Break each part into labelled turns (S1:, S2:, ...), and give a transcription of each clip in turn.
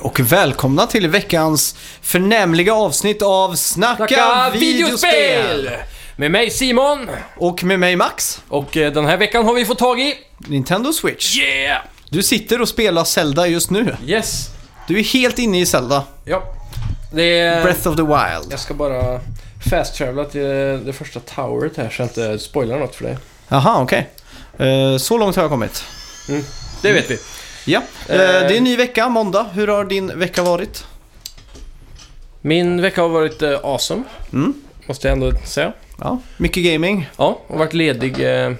S1: och välkomna till veckans förnämliga avsnitt av Snacka,
S2: Snacka
S1: videospel!
S2: videospel! Med mig Simon
S1: Och med mig Max,
S2: och eh, den här veckan har vi fått tag i...
S1: Nintendo Switch.
S2: Yeah!
S1: Du sitter och spelar Zelda just nu.
S2: Yes.
S1: Du är helt inne i Zelda.
S2: Ja. Det är...
S1: Breath of the Wild.
S2: Jag ska bara fast travela till eh, det första toweret här så jag inte spoilar något för dig.
S1: Jaha, okej. Eh, så långt har jag kommit.
S2: Det vet vi.
S1: Ja, eh, det är en ny vecka, måndag. Hur har din vecka varit?
S2: Min vecka har varit eh, awesome.
S1: Mm.
S2: Måste jag ändå säga.
S1: Ja, mycket gaming.
S2: Ja, och varit ledig eh,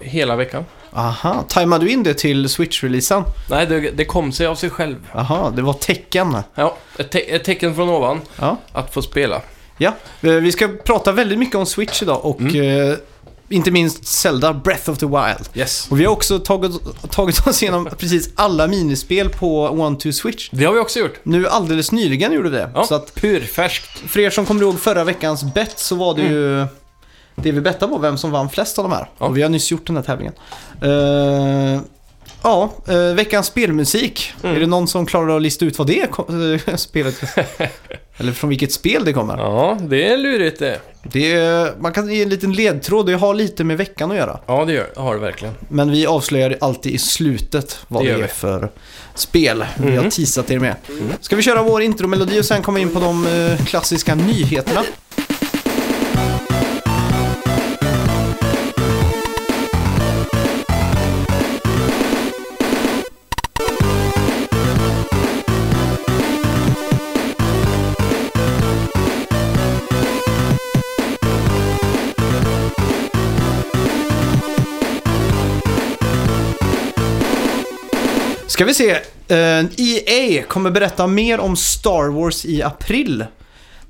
S2: hela veckan.
S1: Aha, tajmade du in det till Switch-releasen?
S2: Nej, det, det kom sig av sig själv.
S1: Aha, det var tecken.
S2: Ja, ett, te- ett tecken från ovan
S1: Ja.
S2: att få spela.
S1: Ja, eh, vi ska prata väldigt mycket om Switch idag och
S2: Mm.
S1: eh, inte minst Zelda Breath of the Wild.
S2: Yes.
S1: Och vi har också tagit, tagit oss igenom precis alla minispel på One to Switch.
S2: Det har vi också gjort.
S1: Nu alldeles nyligen gjorde vi det.
S2: Ja.
S1: Så att
S2: Purfärskt.
S1: för er som kommer ihåg förra veckans bet så var det ju det vi bettade på, vem som vann flest av de här.
S2: Mm. Ja.
S1: Och vi har nyss gjort den här tävlingen. Eh, ja, eh, veckans spelmusik.
S2: Mm.
S1: Är det någon som klarar att lista ut vad det är kom- eh, spelet? Eller från vilket spel det kommer?
S2: Ja, det är lurigt det.
S1: Det är, man kan ge en liten ledtråd, det har lite med veckan att göra.
S2: Ja, det gör, har det verkligen.
S1: Men vi avslöjar alltid i slutet vad
S2: Det
S1: det,
S2: gör
S1: är
S2: vi. Mm.
S1: för spel vi har teasat er med. Ska vi köra vår intromelodi och sen komma in på de eh, klassiska nyheterna? Ska vi se. Eh, EA kommer berätta mer om Star Wars i april.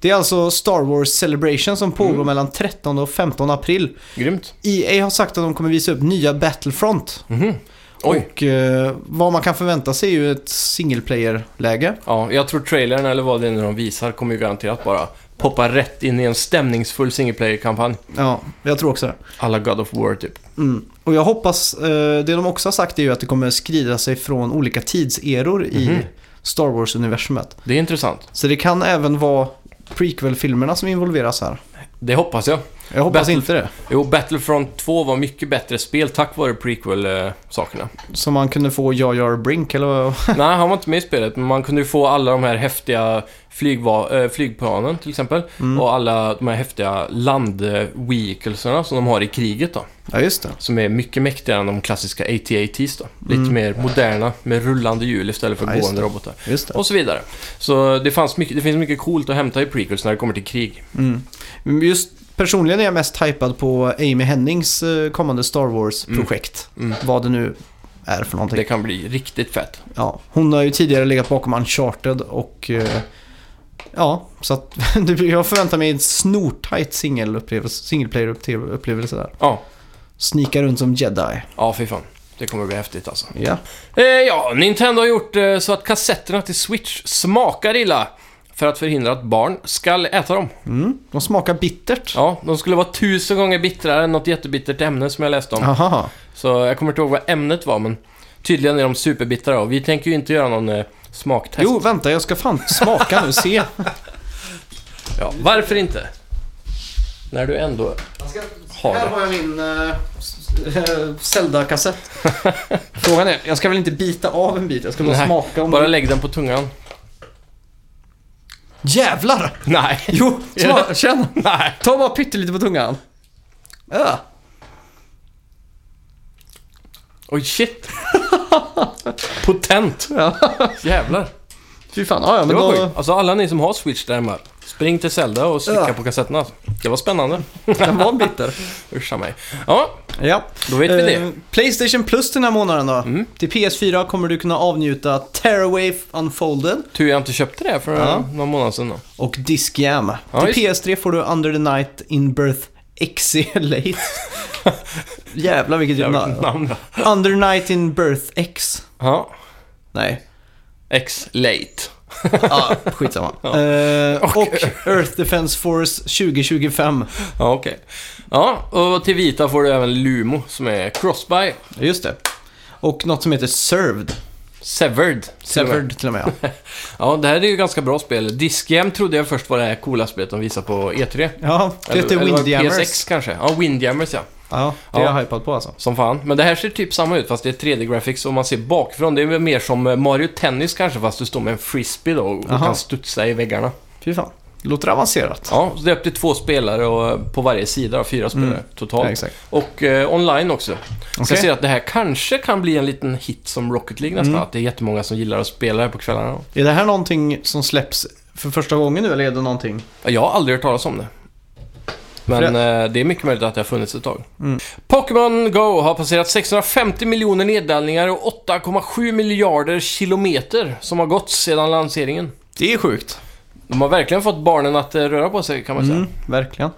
S1: Det är alltså Star Wars Celebration som pågår
S2: Mm.
S1: mellan 13 och 15 april.
S2: Grymt.
S1: EA har sagt att de kommer visa upp nya Battlefront.
S2: Oj.
S1: Och eh, vad man kan förvänta sig är ju ett single player-läge.
S2: Ja, jag tror trailern, eller vad det är nu de visar, kommer ju garanterat bara poppa rätt in i en stämningsfull single player-kampanj.
S1: Ja, jag tror också det.
S2: Alla God of War, typ.
S1: Mm. Och jag hoppas, eh, det de också har sagt är ju att det kommer skrida sig från olika tidseror i Star Wars-universumet.
S2: Det är intressant.
S1: Så det kan även vara prequel-filmerna som involveras här.
S2: Det hoppas jag.
S1: Jag hoppas
S2: Battle-
S1: inte det.
S2: Jo, Battlefront 2 var mycket bättre spel tack vare prequel-sakerna.
S1: Som man kunde få Jar Jar Brink eller vad?
S2: Nej, han var inte med i spelet, men man kunde ju få alla de här häftiga flygva- eh, flygplanen till exempel. Och alla de här häftiga land-vehiclesarna som de har i kriget då.
S1: Ja, just det.
S2: Som är mycket mäktigare än de klassiska AT-ATs då. Lite mer moderna, med rullande hjul istället för
S1: Mm. Ja, just
S2: gående
S1: det.
S2: robotar.
S1: Just det.
S2: Och så vidare. Så det, fanns mycket, det finns mycket coolt att hämta i prequels när det kommer till krig.
S1: Mm. Men Just personligen är jag mest hypad på Amy Hennings eh, kommande Star Wars-projekt. Vad det nu är för någonting.
S2: Det kan bli riktigt fett.
S1: Ja, hon har ju tidigare legat bakom Uncharted och... eh, Ja, så att jag förväntar mig en snortajt singelupplevelse- singleplayer-upplevelse där.
S2: Ja,
S1: Snika runt som jedi.
S2: ja fy fan. Det kommer bli häftigt alltså.
S1: Ja.
S2: Eh, ja, Nintendo har gjort eh, så att kassetterna till Switch smakar illa. För att förhindra att barn ska äta dem.
S1: Mm. De smakar bittert.
S2: Ja, de skulle vara tusen gånger bittrare än något jättebittert ämne som jag läste om.
S1: Aha.
S2: Så jag kommer inte ihåg vad ämnet var, men tydligen är de superbittra och vi tänker ju inte göra någon eh, smaktest.
S1: Jo, vänta, jag ska fan smaka nu, se.
S2: Ja, varför inte? När du ändå... Ha
S1: Här
S2: det.
S1: har jag min uh, Zelda-kassett. Frågan är, jag ska väl inte bita av en bit? Jag ska bara
S2: Nej,
S1: smaka om
S2: Bara
S1: det...
S2: lägg den på tungan.
S1: Jävlar!
S2: Nej.
S1: Jo, smak, känn!
S2: Nej.
S1: Ta bara pyttelite på tungan. Öh.
S2: Oj, shit. Potent.
S1: Ja.
S2: Jävlar.
S1: Fy fan, ja, ja
S2: Det
S1: men
S2: var
S1: då...
S2: sjukt. Alltså alla ni som har Switch där hemma, spring till Zelda och slicka
S1: Ja.
S2: på kassetterna. alltså. Det var spännande.
S1: Den var bitter.
S2: Ursa mig. Ja,
S1: Ja.
S2: då vet vi
S1: Eh,
S2: det. Mm.
S1: Playstation Plus den här månaden då. Till PS4 kommer du kunna avnjuta Tearaway Unfolded
S2: Tur jag inte köpte det för
S1: Ja.
S2: någon månad sedan då.
S1: och Disc Jam.
S2: Ja,
S1: till
S2: just-
S1: PS3 får du Under the Night in Birth Exilate. Jävlar vilket
S2: Jävla
S1: namn.
S2: namn då.
S1: Under Night in Birth X.
S2: Ja.
S1: Nej,
S2: X-Late.
S1: ja, skitsamma. Eh, och Earth Defense Force 2025.
S2: Ja, okej. Ja, och till Vita får du även Lumo som är Crossby.
S1: Just det. Och något som heter Served.
S2: Severed. till och med.
S1: Severed till och med. ja.
S2: Ja, det här är ju ganska bra spel. Discjam trodde jag först var det här coola spelet de visade på E3.
S1: Ja, det
S2: Eller-
S1: heter
S2: eller var det
S1: Windjammers.
S2: PSX kanske. Ja, Windjammers ja.
S1: Ja, det är
S2: Ja.
S1: jag hypad på alltså.
S2: Som fan. Men det här ser typ samma ut fast det är 3D-graphics och man ser bakifrån. Det är väl mer som eh, Mario Tennis kanske fast du står med en frisbee då och
S1: Aha.
S2: kan studsa i väggarna.
S1: Fy fan. Låter avancerat.
S2: Ja, så det är upp till två spelare och, eh, på varje sida då, fyra spelare totalt.
S1: Mm. Ja, exakt.
S2: Och eh, online också. Så
S1: Okej.
S2: jag ser att det här kanske kan bli en liten hit som Rocket League
S1: Mm.
S2: nästan. Att det är jättemånga som gillar att spela det här på kvällarna.
S1: Är det här någonting som släpps för första gången nu eller är det någonting?
S2: Ja, Jag har aldrig hört talas om det. Men eh, det är mycket möjligt att det har funnits ett tag.
S1: Mm.
S2: Pokémon Go har passerat 650 miljoner nedladdningar och 8,7 miljarder kilometer som har gått sedan lanseringen.
S1: Det är sjukt.
S2: De har verkligen fått barnen att eh, röra på sig kan man säga.
S1: Mm, verkligen.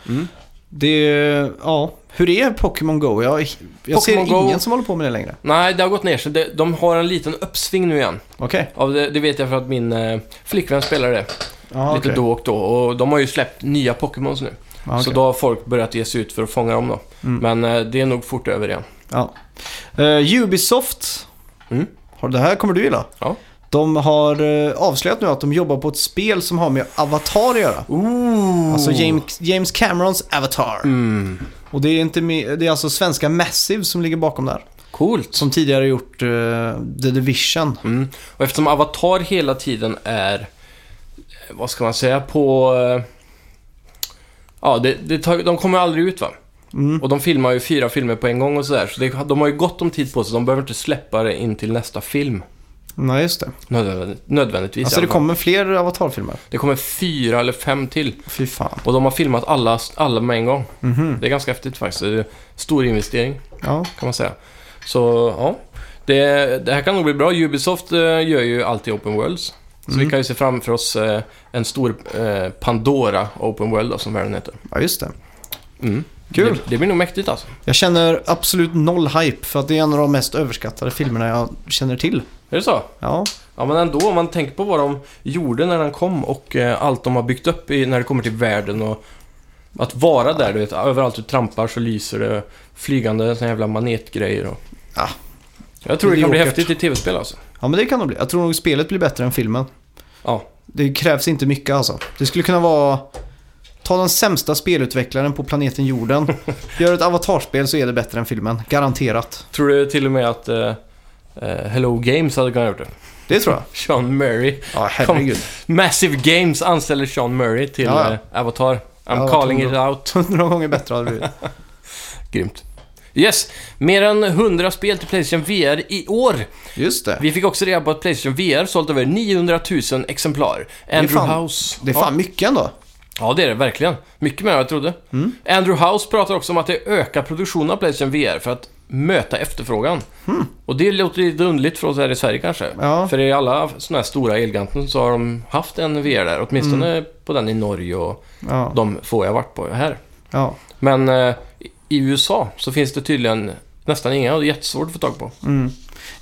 S1: Det är, ja. Hur är Pokémon Go? Jag, jag ser
S2: Pokémon Go-
S1: ingen som håller på med det längre.
S2: Nej, det har gått ner sig. De- De har en liten uppsving nu igen.
S1: Okej.
S2: Ja, det, det vet jag för att min eh, flickvän spelar det
S1: Ja,
S2: lite
S1: Ah, okej.
S2: då och då. Och de har ju släppt nya Pokémons nu.
S1: Ja, okej. Mm.
S2: Så då har folk börjat ge sig ut för att fånga dem då. Men eh, det är nog fort över igen.
S1: Ja. Eh, Ubisoft.
S2: Mm.
S1: Har, det här kommer du gilla.
S2: Ja.
S1: De har eh, avslöjat nu att de jobbar på ett spel som har med Avatar att göra.
S2: Ooh.
S1: Alltså James, James Camerons Avatar.
S2: Mm.
S1: Och det är, inte med, det är alltså svenska Massive som ligger bakom där.
S2: Coolt.
S1: Som tidigare gjort eh, The Division.
S2: Mm. Och eftersom Avatar hela tiden är, eh, vad ska man säga, på... eh, Ja, det, det tar, de kommer aldrig ut va?
S1: Mm.
S2: Och de filmar ju fyra filmer på en gång och sådär. Så det, de har ju gott om tid på sig. De behöver inte släppa det in till nästa film.
S1: Nej, just det.
S2: Nödvändigt, nödvändigtvis.
S1: Alltså
S2: i
S1: det
S2: alla fall.
S1: kommer fler Avatar-filmer.
S2: det kommer fyra eller fem till.
S1: Fy fan.
S2: Och de har filmat alla, alla med en gång.
S1: Mhm.
S2: Det är ganska häftigt faktiskt. Det är stor investering.
S1: Ja.
S2: kan man säga. Så ja, det, det här kan nog bli bra. Ubisoft eh, gör ju alltid Open Worlds. Så vi kan ju se framför oss eh, en stor eh, Pandora Open World då, som världen heter.
S1: ja, just det.
S2: Mm.
S1: Kul.
S2: Det, det blir nog mäktigt alltså.
S1: Jag känner absolut noll hype för att det är en av de mest överskattade filmerna jag känner till.
S2: Är det så?
S1: Ja,
S2: Ja men ändå, om man tänker på vad de gjorde när den kom och eh, allt de har byggt upp i, när det kommer till världen och att vara där, du vet. Överallt du trampar så lyser det flygande såna jävla manetgrejer och...
S1: Ja.
S2: Jag tror det, kan bli
S1: Mediokert.
S2: häftigt i tv-spel alltså.
S1: ja men det kan det bli. Jag tror nog spelet blir bättre än filmen.
S2: Ja,
S1: Det krävs inte mycket alltså. Det skulle kunna vara... Ta den sämsta spelutvecklaren på planeten jorden. Gör ett avatarspel så är det bättre än filmen. Garanterat.
S2: Tror du till och med att eh, eh, Hello Games hade kunnat gjort det?
S1: Det tror jag.
S2: Sean Murray.
S1: Ja, herregud.
S2: Massive Games anställer Sean Murray till
S1: Ja, ja.
S2: eh, Avatar. I'm
S1: Ja,
S2: calling
S1: vad
S2: it out.
S1: Några gånger bättre hade det blivit.
S2: Grymt. Yes, mer än 100 spel till Playstation VR i år.
S1: Just det.
S2: Vi fick också reda på att Playstation VR sålt över 900 000 exemplar. Andrew
S1: fan-
S2: House.
S1: Det är fan mycket ändå.
S2: Ja. ja, det är det verkligen. Mycket mer än jag trodde.
S1: Mm.
S2: Andrew House pratar också om att det ökar produktionen av Playstation VR för att möta efterfrågan. Och det låter lite underligt för oss här i Sverige kanske.
S1: Mm. Ja.
S2: För i alla sådana här stora Elgiganten så har de haft en VR där. Åtminstone på den i Norge och
S1: Mm. Ja.
S2: de få jag varit på här.
S1: ja.
S2: Men eh, i USA så finns det tydligen nästan inga och det är jättesvårt att få tag på.
S1: Mm.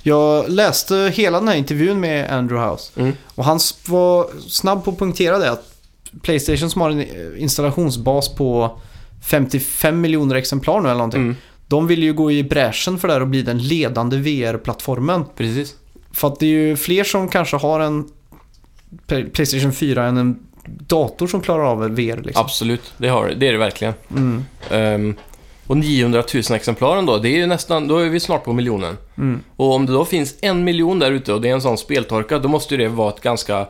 S1: Jag läste hela den här intervjun med Andrew House.
S2: Mm.
S1: Och han s- var snabb på att punktera det. Att Playstation som har en eh, installationsbas på 55 miljoner exemplar nu eller någonting.
S2: Mm.
S1: De vill ju gå i bräschen för det här och bli den ledande VR-plattformen.
S2: Precis.
S1: För att det är ju fler som kanske har en Play- Playstation 4 än en dator som klarar av VR liksom.
S2: Absolut, det, har, det är det verkligen.
S1: Mm.
S2: Ehm, och 900 000 exemplaren då, det är ju nästan, då är vi snart på miljonen.
S1: Mm.
S2: Och om det då finns en miljon där ute och det är en sån speltorka, då måste ju det vara ett ganska...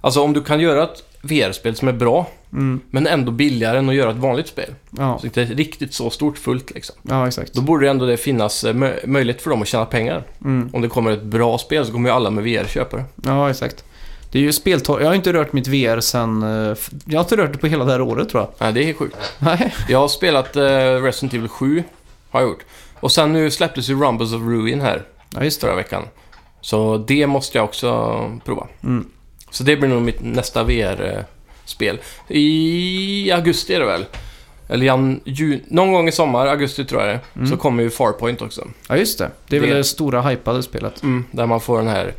S2: Alltså om du kan göra ett VR-spel som är bra,
S1: Mm.
S2: men ändå billigare än att göra ett vanligt spel.
S1: Ja.
S2: Så det är riktigt så stort fullt liksom.
S1: ja, exakt.
S2: Då borde ändå det finnas eh, mö- möjlighet för dem att tjäna pengar.
S1: Mm.
S2: Om det kommer ett bra spel så kommer ju alla med VR köpa det.
S1: Ja, exakt. Det är ju speltor... Jag har inte rört mitt VR sen... eh, f- Jag har inte rört det på hela det här året tror jag.
S2: Nej, det är helt sjukt.
S1: Nej.
S2: Jag har spelat eh, Resident Evil 7, har jag gjort. Och sen nu släpptes ju Rumbles of Ruin här
S1: Ja, just det.
S2: förra veckan. Så det måste jag också prova.
S1: Mm.
S2: Så det blir nog mitt nästa VR-spel. I augusti är det väl? Eller jan, ju, någon gång i sommar, augusti tror jag det
S1: Mm.
S2: är, så kommer ju Farpoint också.
S1: Ja, just det. Det är väl
S2: Det-
S1: det stora hypade spelet.
S2: Där man får den här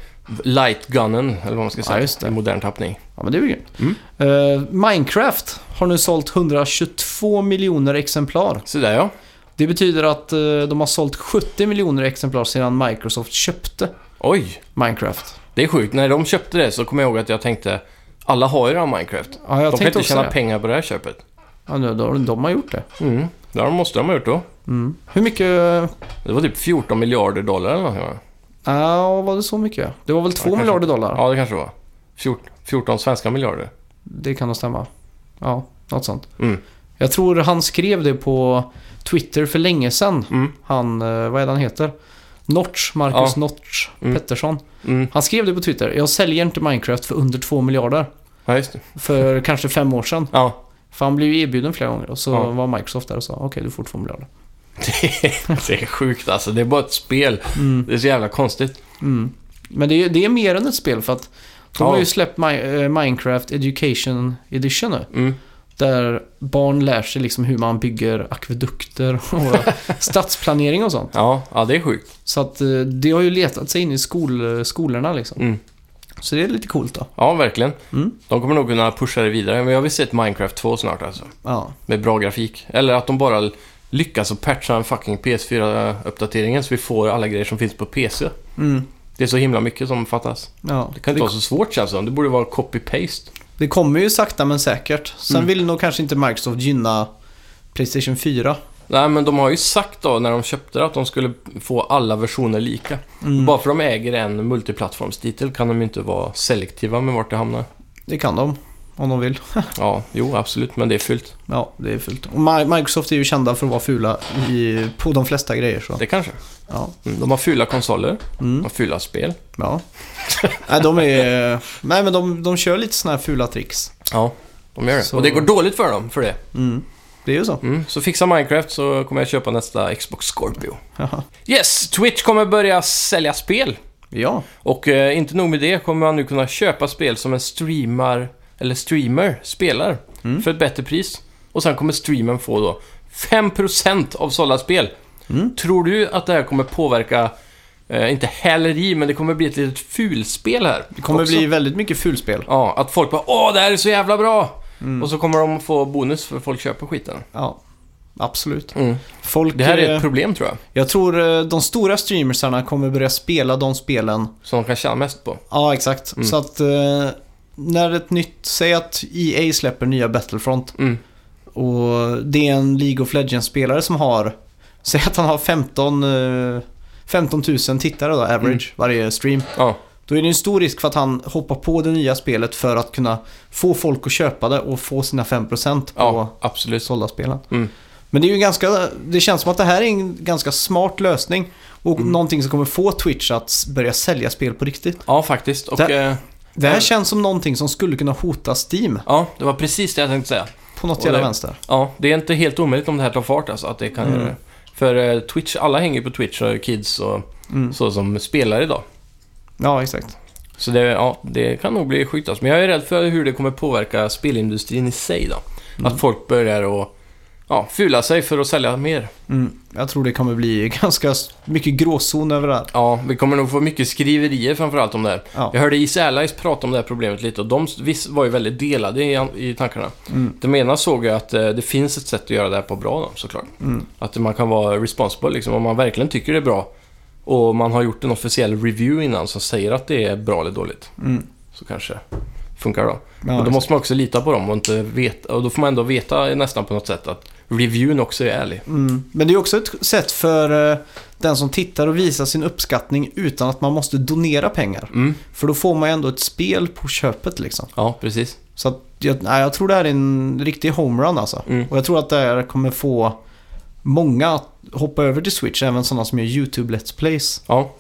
S2: lightgunnen, eller vad man ska
S1: Ja,
S2: säga,
S1: just det.
S2: i modern tappning.
S1: Ja, men det är väl grymt.
S2: Mm.
S1: Eh, Minecraft har nu sålt 122 miljoner exemplar.
S2: Så där ja.
S1: Det betyder att eh, de har sålt 70 miljoner exemplar sedan Microsoft köpte
S2: Oj,
S1: Minecraft.
S2: det är sjukt. När de köpte det så kommer jag ihåg att jag tänkte alla har ju redan Minecraft.
S1: Ja, jag
S2: de kan
S1: tänkte
S2: inte
S1: också
S2: tjäna
S1: det.
S2: pengar på det här köpet.
S1: Ja, nu, de, de har gjort det.
S2: Mm, det måste de ha gjort då.
S1: Mm. Hur mycket...
S2: Det var typ 14 miljarder dollar eller någonting va?
S1: Ja, var det så mycket? Det var väl två
S2: kanske.
S1: miljarder dollar?
S2: Ja, det kanske det var. 14, 14 svenska miljarder.
S1: Det kan nog stämma. Ja, något sånt.
S2: Mm.
S1: Jag tror han skrev det på Twitter för länge sedan.
S2: Mm.
S1: Han, eh, vad är det han heter? Notch, Marcus
S2: Ja.
S1: Notch
S2: Mm.
S1: Pettersson.
S2: Mm.
S1: Han skrev det på Twitter. Jag säljer inte Minecraft för under 2 miljarder.
S2: Ja, just det.
S1: För kanske fem år sedan.
S2: Ja.
S1: För han blev ju erbjuden flera gånger och så
S2: Ja.
S1: var Microsoft där och sa okej, du får 2 miljarder.
S2: Det är, det är sjukt alltså. Det är bara ett spel.
S1: Mm.
S2: Det är så jävla konstigt.
S1: Mm. Men det är, det är mer än ett spel för att de
S2: Ja.
S1: har ju släppt Mi- eh, Minecraft Education Edition nu.
S2: Mm.
S1: Där barn lär sig liksom hur man bygger akvedukter och stadsplanering och sånt.
S2: Ja, ja, det är sjukt.
S1: Så att eh, det har ju letat sig in i skol, skolorna liksom.
S2: Mm.
S1: Så det är lite coolt då.
S2: Ja, verkligen.
S1: Mm.
S2: De kommer nog kunna pusha det vidare. Men jag vill se ett Minecraft 2 snart alltså.
S1: Ja.
S2: Med bra grafik. Eller att de bara lyckas att patcha den fucking PS4-uppdateringen så vi får alla grejer som finns på PC.
S1: Mm.
S2: Det är så himla mycket som fattas.
S1: Ja.
S2: Det kan inte vara så svårt känns det som. Det borde vara copy-paste.
S1: Det kommer ju sakta men säkert. Sen
S2: Mm.
S1: vill nog kanske inte Microsoft gynna Playstation 4.
S2: Nej, men de har ju sagt då när de köpte det att de skulle få alla versioner lika.
S1: Mm.
S2: Bara för de äger en multiplattformstitel kan de ju inte vara selektiva med vart det hamnar.
S1: Det kan de, om de vill.
S2: Ja, jo absolut, men det är fyllt.
S1: Ja, det är fult. Och Mi- Microsoft är ju kända för att vara fula i, på de flesta grejer. Så.
S2: Det kanske.
S1: Ja.
S2: Mm, de har fula konsoler, de
S1: Mm.
S2: har fula spel.
S1: ja. nej, de är... Nej, men de, de kör lite såna här fula tricks.
S2: Ja, de gör det.
S1: Så-
S2: Och det går dåligt för dem för det.
S1: Mm. Det är ju så.
S2: Mm, så fixa Minecraft så kommer jag köpa nästa Xbox Scorpio.
S1: Haha.
S2: Yes, Twitch kommer börja sälja spel.
S1: ja.
S2: Och eh, inte nog med det kommer man nu kunna köpa spel som en streamar, eller streamer spelar
S1: Mm.
S2: för ett bättre pris. Och sen kommer streamen få då 5% av sålda spel.
S1: Mm.
S2: Tror du att det här kommer påverka, eh, inte häleri, men det kommer bli ett litet fulspel här?
S1: Det kommer
S2: också?
S1: bli väldigt mycket fulspel.
S2: Ja, att folk bara Åh, det här är så jävla bra!
S1: Mm.
S2: Och så kommer de få bonus för folk köper skiten.
S1: Ja. Absolut.
S2: Mm.
S1: Folk...
S2: Det här är
S1: eh,
S2: ett problem tror jag,
S1: Jag tror eh, de stora streamersarna kommer börja spela de spelen.
S2: som de kan tjäna mest på.
S1: Ja, exakt.
S2: Mm.
S1: Så att eh, när ett nytt... Säg att EA släpper nya Battlefront.
S2: Mm.
S1: Och det är en League of Legends-spelare som har, säg att han har 15, eh, 15 000 tittare då, average,
S2: Mm.
S1: varje stream.
S2: Ja,
S1: Då är det en stor risk för att han hoppar på det nya spelet för att kunna få folk att köpa det och få sina 5% på
S2: ja absolut.
S1: sålda spelen.
S2: Mm.
S1: Men det är ju ganska, det känns som att det här är en ganska smart lösning och
S2: Mm.
S1: någonting som kommer få Twitch att s- börja sälja spel på riktigt.
S2: Ja, faktiskt. Och,
S1: Där-
S2: eh,
S1: Det här
S2: Ja.
S1: känns som någonting som skulle kunna hota Steam
S2: ja, det var precis det jag tänkte säga.
S1: på något
S2: Och
S1: jävla
S2: det-
S1: vänster.
S2: Ja, det är inte helt omöjligt om det här tar fart alltså, att det kan
S1: Mm.
S2: göra det. För eh, Twitch, alla hänger ju på Twitch och kids och
S1: Mm.
S2: så som spelar idag.
S1: Ja, exakt.
S2: Så det, ja, det kan nog bli sjukt alltså. Men jag är rädd för hur det kommer påverka spelindustrin i sig då.
S1: Mm.
S2: Att folk börjar att ja, fula sig för att sälja mer.
S1: Mm. Jag tror det kommer bli ganska s- mycket gråzon över det här.
S2: Ja, vi kommer nog få mycket skriverier framförallt om det här.
S1: Ja.
S2: Jag hörde Easy Allies prata om det här problemet lite och de viss, var ju väldigt delade i, i tankarna.
S1: Mm.
S2: De ena såg ju att eh, det finns ett sätt att göra det här på bra då, såklart.
S1: Mm.
S2: Att man kan vara responsible liksom, om man verkligen tycker det är bra och man har gjort en officiell review innan som säger att det är bra eller dåligt.
S1: Mm.
S2: Så kanske funkar då.
S1: Ja,
S2: och då
S1: exakt.
S2: måste man också lita på dem och inte veta, och då får man ändå veta nästan på något sätt att reviewn också är ärlig.
S1: Mm. Men det är också ett sätt för eh, den som tittar och visar sin uppskattning utan att man måste donera pengar.
S2: Mm.
S1: För då får man ju ändå ett spel på köpet liksom.
S2: Ja, precis.
S1: Så att jag, nej, jag tror det här är en riktig homerun alltså.
S2: Mm.
S1: Och jag tror att det här kommer få många att hoppa över till Switch, även sådana som gör YouTube Let's Plays.
S2: Ja,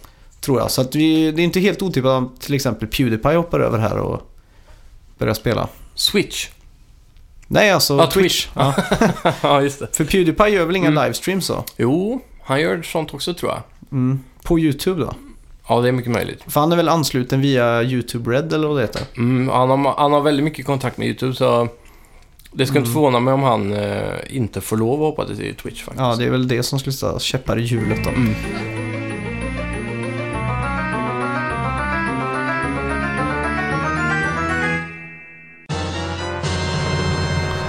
S1: Tror jag. Så att vi, det är inte helt otippat att till exempel Pewdiepie hoppar över här och börjar spela.
S2: switch.
S1: Nej, alltså
S2: Ah,
S1: Twitch. Ja.
S2: ja, just det.
S1: För Pewdiepie gör väl inga
S2: Mm.
S1: livestreams så?
S2: Jo, han gör sånt också tror jag.
S1: Mm. På YouTube då?
S2: Ja, det är mycket möjligt.
S1: För han är väl ansluten via YouTube Red eller vad det heter?
S2: Mm, han, har, han har väldigt mycket kontakt med YouTube, så det ska
S1: Mm.
S2: inte förvåna mig om han eh, inte får lov att hoppa till Twitch faktiskt.
S1: Ja, det är väl det som skulle sätta käppar i hjulet då.
S2: Mm.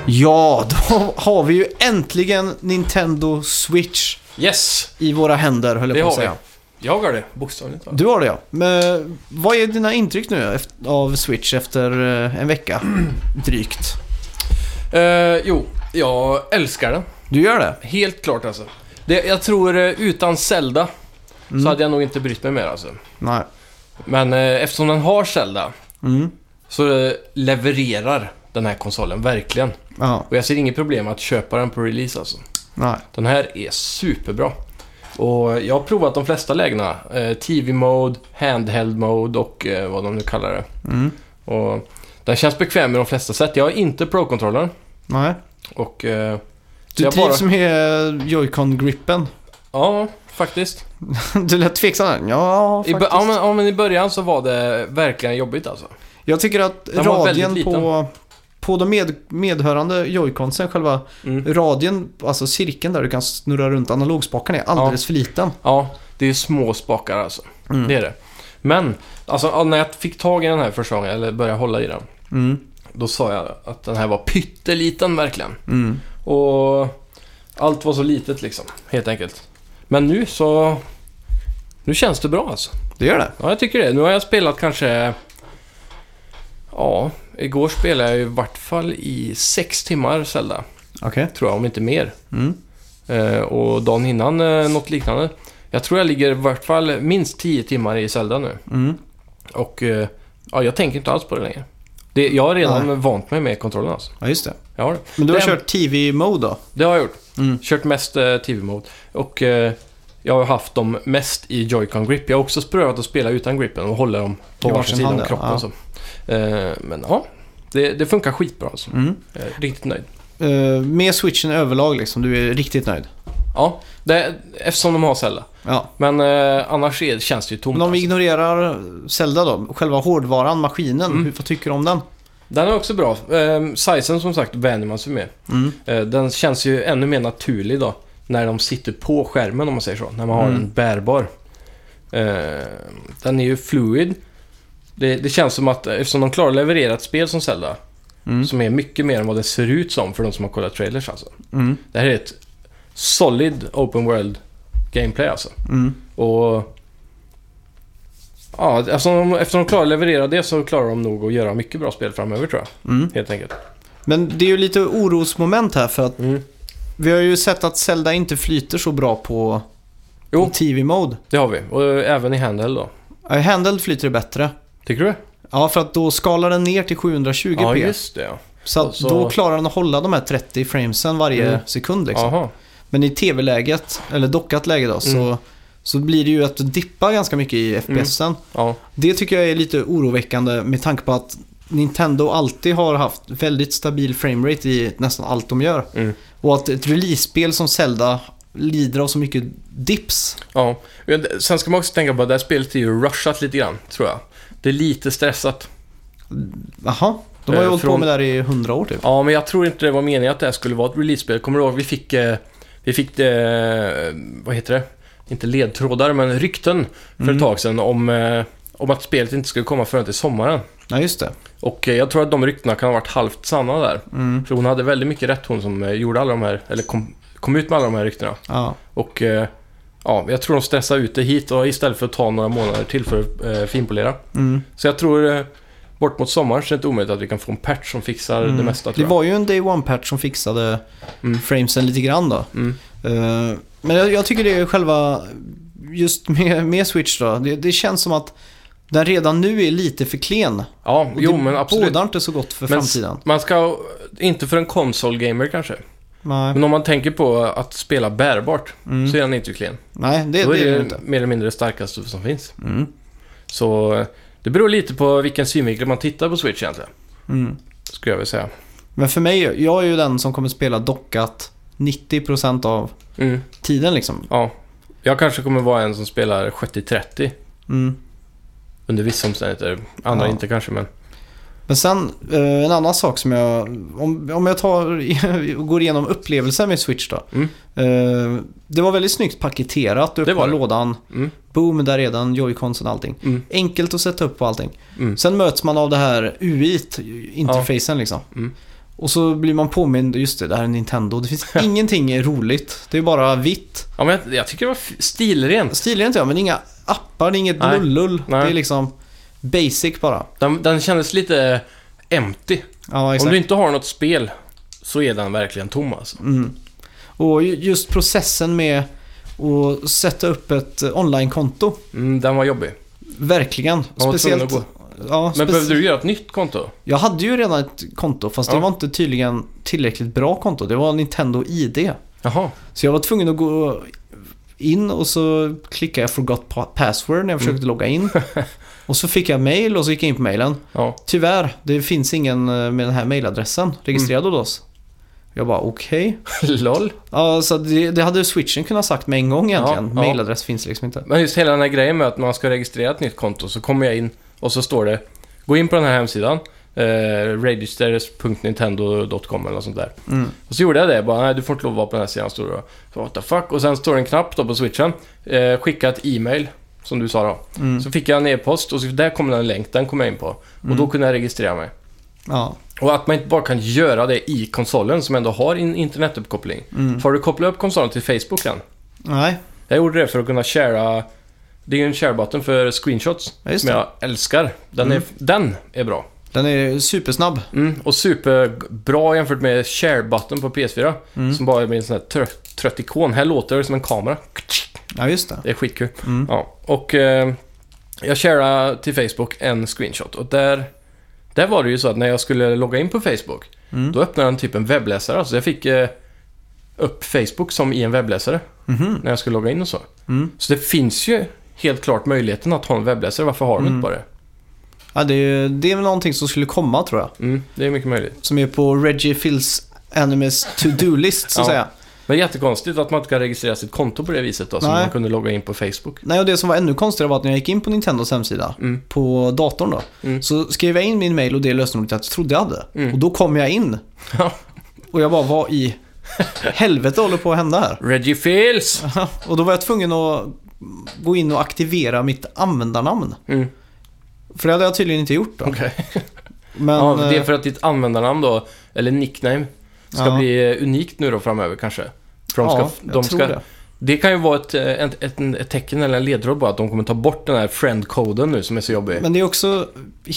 S1: Ja, då har vi ju äntligen Nintendo Switch
S2: Yes!
S1: i våra händer, höll
S2: Det
S1: jag på att
S2: har vi.
S1: säga.
S2: Jag har det, bokstavligt va?
S1: Du har det ja. Men vad är dina intryck nu eft- av Switch efter eh, en vecka? Drygt.
S2: Eh, jo, jag älskar den.
S1: Du gör det?
S2: Helt klart alltså. Det, jag tror eh, utan Zelda
S1: Mm.
S2: så hade jag nog inte brytt mig mer alltså.
S1: Nej.
S2: Men eh, eftersom den har Zelda
S1: Mm.
S2: så eh, levererar den här konsolen verkligen.
S1: Ja.
S2: Och jag ser inget problem att köpa den på release alltså.
S1: Nej.
S2: Den här är superbra. Och jag har provat de flesta lägena. Eh, TV-mode, handheld-mode och eh, vad de nu kallar det.
S1: Mm.
S2: Och den känns bekväm i de flesta sätt. Jag har inte Pro-controllern.
S1: Nej.
S2: Och... Eh, så
S1: Du
S2: jag bara-
S1: trivs med Joy-Con-grippen.
S2: Ja, faktiskt.
S1: Du lät tveksam. där. Ja,
S2: I,
S1: faktiskt.
S2: bö- ja, men, ja, men i början så var det verkligen jobbigt alltså.
S1: Jag tycker att
S2: Den var väldigt
S1: radien på, på de med, medhörande joyconsen, själva
S2: Mm.
S1: radien, alltså cirkeln där du kan snurra runt analogspakarna är alldeles för liten.
S2: Ja, det är små spakar alltså.
S1: Mm.
S2: Det är det. Men, alltså ja, när jag fick tag i den här första gången, eller började hålla i den,
S1: Mm.
S2: då sa jag att den här var pytteliten verkligen.
S1: Mm.
S2: Och allt var så litet liksom, helt enkelt. Men nu så... Nu känns det bra alltså.
S1: Det gör det.
S2: Ja, jag tycker det. Nu har jag spelat kanske... Ja, igår spelade jag i vart fall i sex timmar Zelda.
S1: Okej.
S2: Tror jag, om inte mer.
S1: Mm.
S2: Eh, och dagen innan eh, något liknande. Jag tror jag ligger i vart fall minst 10 timmar i Zelda nu.
S1: Mm.
S2: Och eh, ja, jag tänker inte alls på det längre. Det, jag har redan vant mig med kontrollen alltså.
S1: Ja, just det.
S2: Jag har det.
S1: Men du har
S2: Den-
S1: kört TV-mode då?
S2: Det har jag gjort.
S1: Mm.
S2: Kört mest eh, TV-mode. Och eh, jag har haft dem mest i Joy-Con grip. Jag har också prövat att spela utan gripen och hålla dem på
S1: I
S2: varsin
S1: varsin
S2: sida
S1: hand,
S2: om
S1: ja.
S2: kroppen.
S1: Ja.
S2: Så. Eh, men ja, det, det funkar skitbra alltså.
S1: Mm.
S2: Jag är riktigt nöjd.
S1: Eh, med switchen överlag liksom, du är riktigt nöjd?
S2: Ja, det, eftersom de har Zelda.
S1: Ja.
S2: Men eh, annars är, känns det ju tomt.
S1: Men om vi
S2: alltså.
S1: ignorerar Zelda då, själva hårdvaran, maskinen,
S2: Mm.
S1: hur, vad tycker du om den?
S2: Den är också bra. Eh, sizen som sagt vänjer man sig med.
S1: Mm.
S2: Eh, den känns ju ännu mer naturlig då. När de sitter på skärmen om man säger så. När man har
S1: Mm.
S2: en bärbar. Eh, den är ju fluid. Det, det känns som att eh, eftersom de klarar att leverera ett spel som Zelda.
S1: Mm.
S2: Som är mycket mer än vad det ser ut som för de som har kollat trailers alltså.
S1: Mm.
S2: Det här är ett solid open world gameplay alltså.
S1: Mm.
S2: Och... Ja, alltså, de- eftersom de klarar att leverera det så klarar de nog att göra mycket bra spel framöver tror jag.
S1: Mm.
S2: Helt enkelt.
S1: Men det är ju lite orosmoment här för att
S2: Mm.
S1: vi har ju sett att Zelda inte flyter så bra på
S2: Jo.
S1: TV-mode.
S2: Det har vi. Och eh, även i Handheld då.
S1: Ja, I Handheld flyter det bättre.
S2: Tycker du?
S1: Ja, för att då skalar den ner till 720p.
S2: Ja, just det. ja.
S1: Så att
S2: Och så-
S1: då klarar den att hålla de här 30 framesen varje
S2: Mm.
S1: sekund liksom.
S2: Jaha.
S1: Men i tv-läget, eller dockat läge då, så,
S2: Mm.
S1: så blir det ju att du dippar ganska mycket i FPSen.
S2: Ja.
S1: Det tycker jag är lite oroväckande med tanke på att Nintendo alltid har haft väldigt stabil framerate i nästan allt de gör.
S2: Mm.
S1: Och att ett release-spel som Zelda lider av så mycket dips.
S2: ja. Men det- Sen ska man också tänka på att det här spelet är ju rushat lite grann, tror jag. Det är lite stressat.
S1: Jaha, de har ju
S2: Eh,
S1: hållit på
S2: från-
S1: med det här i hundra år typ.
S2: Ja, men jag tror inte det var meningen att det här skulle vara ett release-spel. Kommer du ihåg? Vi fick... Eh, vi fick eh, Vad heter det? Inte ledtrådar, men rykten för ett tag sedan om, eh, om att spelet inte skulle komma förrän till sommaren.
S1: Ja, just det.
S2: Och eh, jag tror att de ryktena kan ha varit halvt sanna där.
S1: Mm.
S2: För hon hade väldigt mycket rätt, hon som eh, gjorde alla de här... Eller kom, kom ut med alla de här ryktena.
S1: Ja.
S2: Och eh, ja, jag tror de stressar ut det hit och istället för att ta några månader till för att eh, finpolera.
S1: Mm.
S2: Så jag tror eh, bort mot sommaren så är det inte omöjligt att vi kan få en patch som fixar det mesta
S1: mm. Det
S2: tror jag.
S1: var ju en Day One-patch som fixade
S2: Mm.
S1: framesen lite grann då.
S2: Mm.
S1: Eh, Men jag, jag tycker det är själva, just med, med Switch då, det, det känns som att den redan nu är lite för klen.
S2: Ja,
S1: Och
S2: jo
S1: det
S2: men absolut.
S1: bådar inte så gott för
S2: Men s-
S1: framtiden.
S2: Man ska, inte för en konsolgamer kanske,
S1: Nej,
S2: men om man tänker på att spela bärbart
S1: Mm.
S2: så är den inte klen.
S1: Nej det,
S2: Då är
S1: det
S2: det,
S1: är det
S2: ju
S1: inte.
S2: mer eller mindre det starkaste som finns.
S1: Mm.
S2: Så eh, det beror lite på vilken synvinkel man tittar på Switch egentligen,
S1: Mm.
S2: skulle jag vilja säga.
S1: Men för mig, jag är ju den som kommer spela dockat 90% av
S2: Mm,
S1: tiden liksom.
S2: ja. Jag kanske kommer vara en som spelar 70-30.
S1: Mm.
S2: Under vissa omständigheter. Andra
S1: Ja.
S2: inte kanske, men...
S1: Men sen eh, en annan sak som jag, om, om jag tar, går igenom upplevelsen med Switch då.
S2: Mm.
S1: Eh, det var väldigt snyggt paketerat, du
S2: Det var
S1: öppnar
S2: det.
S1: lådan,
S2: Mm,
S1: boom, där är den, joyconsen och allting.
S2: mm,
S1: Enkelt att sätta upp och allting.
S2: mm.
S1: Sen möts man av det här UI-interfacen liksom.
S2: Mm.
S1: Och så blir man påmind, just det, det här är Nintendo. Det finns ingenting roligt. Det är bara vitt.
S2: Ja, men jag, jag tycker det var f- stilrent.
S1: Stilrent ja, men inga appar, det är inget
S2: Nej.
S1: lullull. Det
S2: Nej.
S1: är liksom basic bara.
S2: Den, den kändes lite empty.
S1: Ja,
S2: Om
S1: exakt. Mm.
S2: du inte har något spel så är den verkligen tom alltså.
S1: Och ju- just processen med att sätta upp ett eh, online-konto.
S2: Mm, den var jobbig.
S1: Verkligen.
S2: var tvungen
S1: Speciellt...
S2: att gå.
S1: Ja,
S2: Men
S1: speci-
S2: behövde du göra ett nytt konto?
S1: Jag hade ju redan ett konto, fast det
S2: Ja.
S1: var inte tydligen tillräckligt bra konto. Det var Nintendo ID.
S2: Jaha.
S1: Så jag var tvungen att gå in och så klickade jag forgot pa- password när jag försökte
S2: Mm.
S1: logga in. Och så fick jag mail och så gick jag in på mailen.
S2: Ja.
S1: Tyvärr, det finns ingen eh, med den här mailadressen registrerad
S2: Mm.
S1: hos oss. Jag bara okej.
S2: LOL.
S1: Ja, så det, det hade switchen kunnat sagt med en gång egentligen.
S2: Ja, ja.
S1: Mailadress finns liksom inte.
S2: Men just hela den här grejen med att man ska registrera ett nytt konto så kommer jag in och så står det Gå in på den här hemsidan. Eh, registers.nintendo.com eller något sånt där.
S1: Mm.
S2: Och så gjorde jag det. Bara, nej, du får inte lov att vara på den här sidan. Stod det då. Så, what the fuck? Och sen står det en knapp då på switchen. Eh, skicka ett e-mail, som du sa då.
S1: Mm.
S2: Så fick jag en e-post och så där kom det en länk. Den kom jag in på. Och
S1: Mm.
S2: då kunde jag registrera mig.
S1: Ja,
S2: Och att man inte bara kan göra det i konsolen som ändå har en internetuppkoppling.
S1: Mm.
S2: Får du koppla upp konsolen till Facebook än?
S1: nej.
S2: Jag gjorde det för att kunna sharea. Det är ju en share-button för screenshots.
S1: Ja, just
S2: som
S1: det. Mm.
S2: jag älskar. Den, är, den är bra.
S1: Den är supersnabb.
S2: Mm, och superbra jämfört med share-button på PS4.
S1: Mm.
S2: Som bara är med en sån här trött, trött ikon. Här låter det som en kamera.
S1: Ja, just det.
S2: Det är skitkul.
S1: Mm.
S2: Ja. Och eh, jag sharade till Facebook en screenshot. Och där, där var det ju så att när jag skulle logga in på Facebook.
S1: Mm.
S2: Då öppnade den typ en webbläsare. Så jag fick eh, upp Facebook som i en webbläsare.
S1: Mhm.
S2: När jag skulle logga in och så.
S1: Mm.
S2: Så det finns ju helt klart möjligheten att ha en webbläsare. Varför har de
S1: Mm.
S2: inte bara det?
S1: Ja, det, är, det är väl någonting som skulle komma tror jag.
S2: Mm, det är mycket möjligt.
S1: Som är på Reggie Phils Animes to-do-list så att
S2: Ja.
S1: säga.
S2: Men jättekonstigt att man inte kan registrera sitt konto på det viset då. Som
S1: Nej.
S2: man kunde logga in på Facebook.
S1: Nej, och det som var ännu konstigare var att när jag gick in på Nintendos hemsida
S2: Mm.
S1: på datorn då.
S2: Mm.
S1: Så skrev jag in min mail och det lösenordet jag trodde jag hade.
S2: Mm.
S1: Och då kom jag in.
S2: Ja.
S1: Och jag bara, vad i helvete håller på att hända här?
S2: Reggie Fils!
S1: Ah. Och då var jag tvungen att gå in och aktivera mitt användarnamn.
S2: Mm,
S1: För det hade jag tydligen inte gjort då.
S2: okej.
S1: Men,
S2: ja, det är
S1: eh,
S2: för att ditt användarnamn då, eller nickname, ska
S1: Ja.
S2: bli eh, unikt nu då framöver kanske. För de ska,
S1: ja, jag
S2: de
S1: tror
S2: ska,
S1: det.
S2: det. kan ju vara ett, eh, ett, ett, ett tecken eller en ledtråd bara att de kommer ta bort den här friend-koden nu som är så jobbig.
S1: Men det är också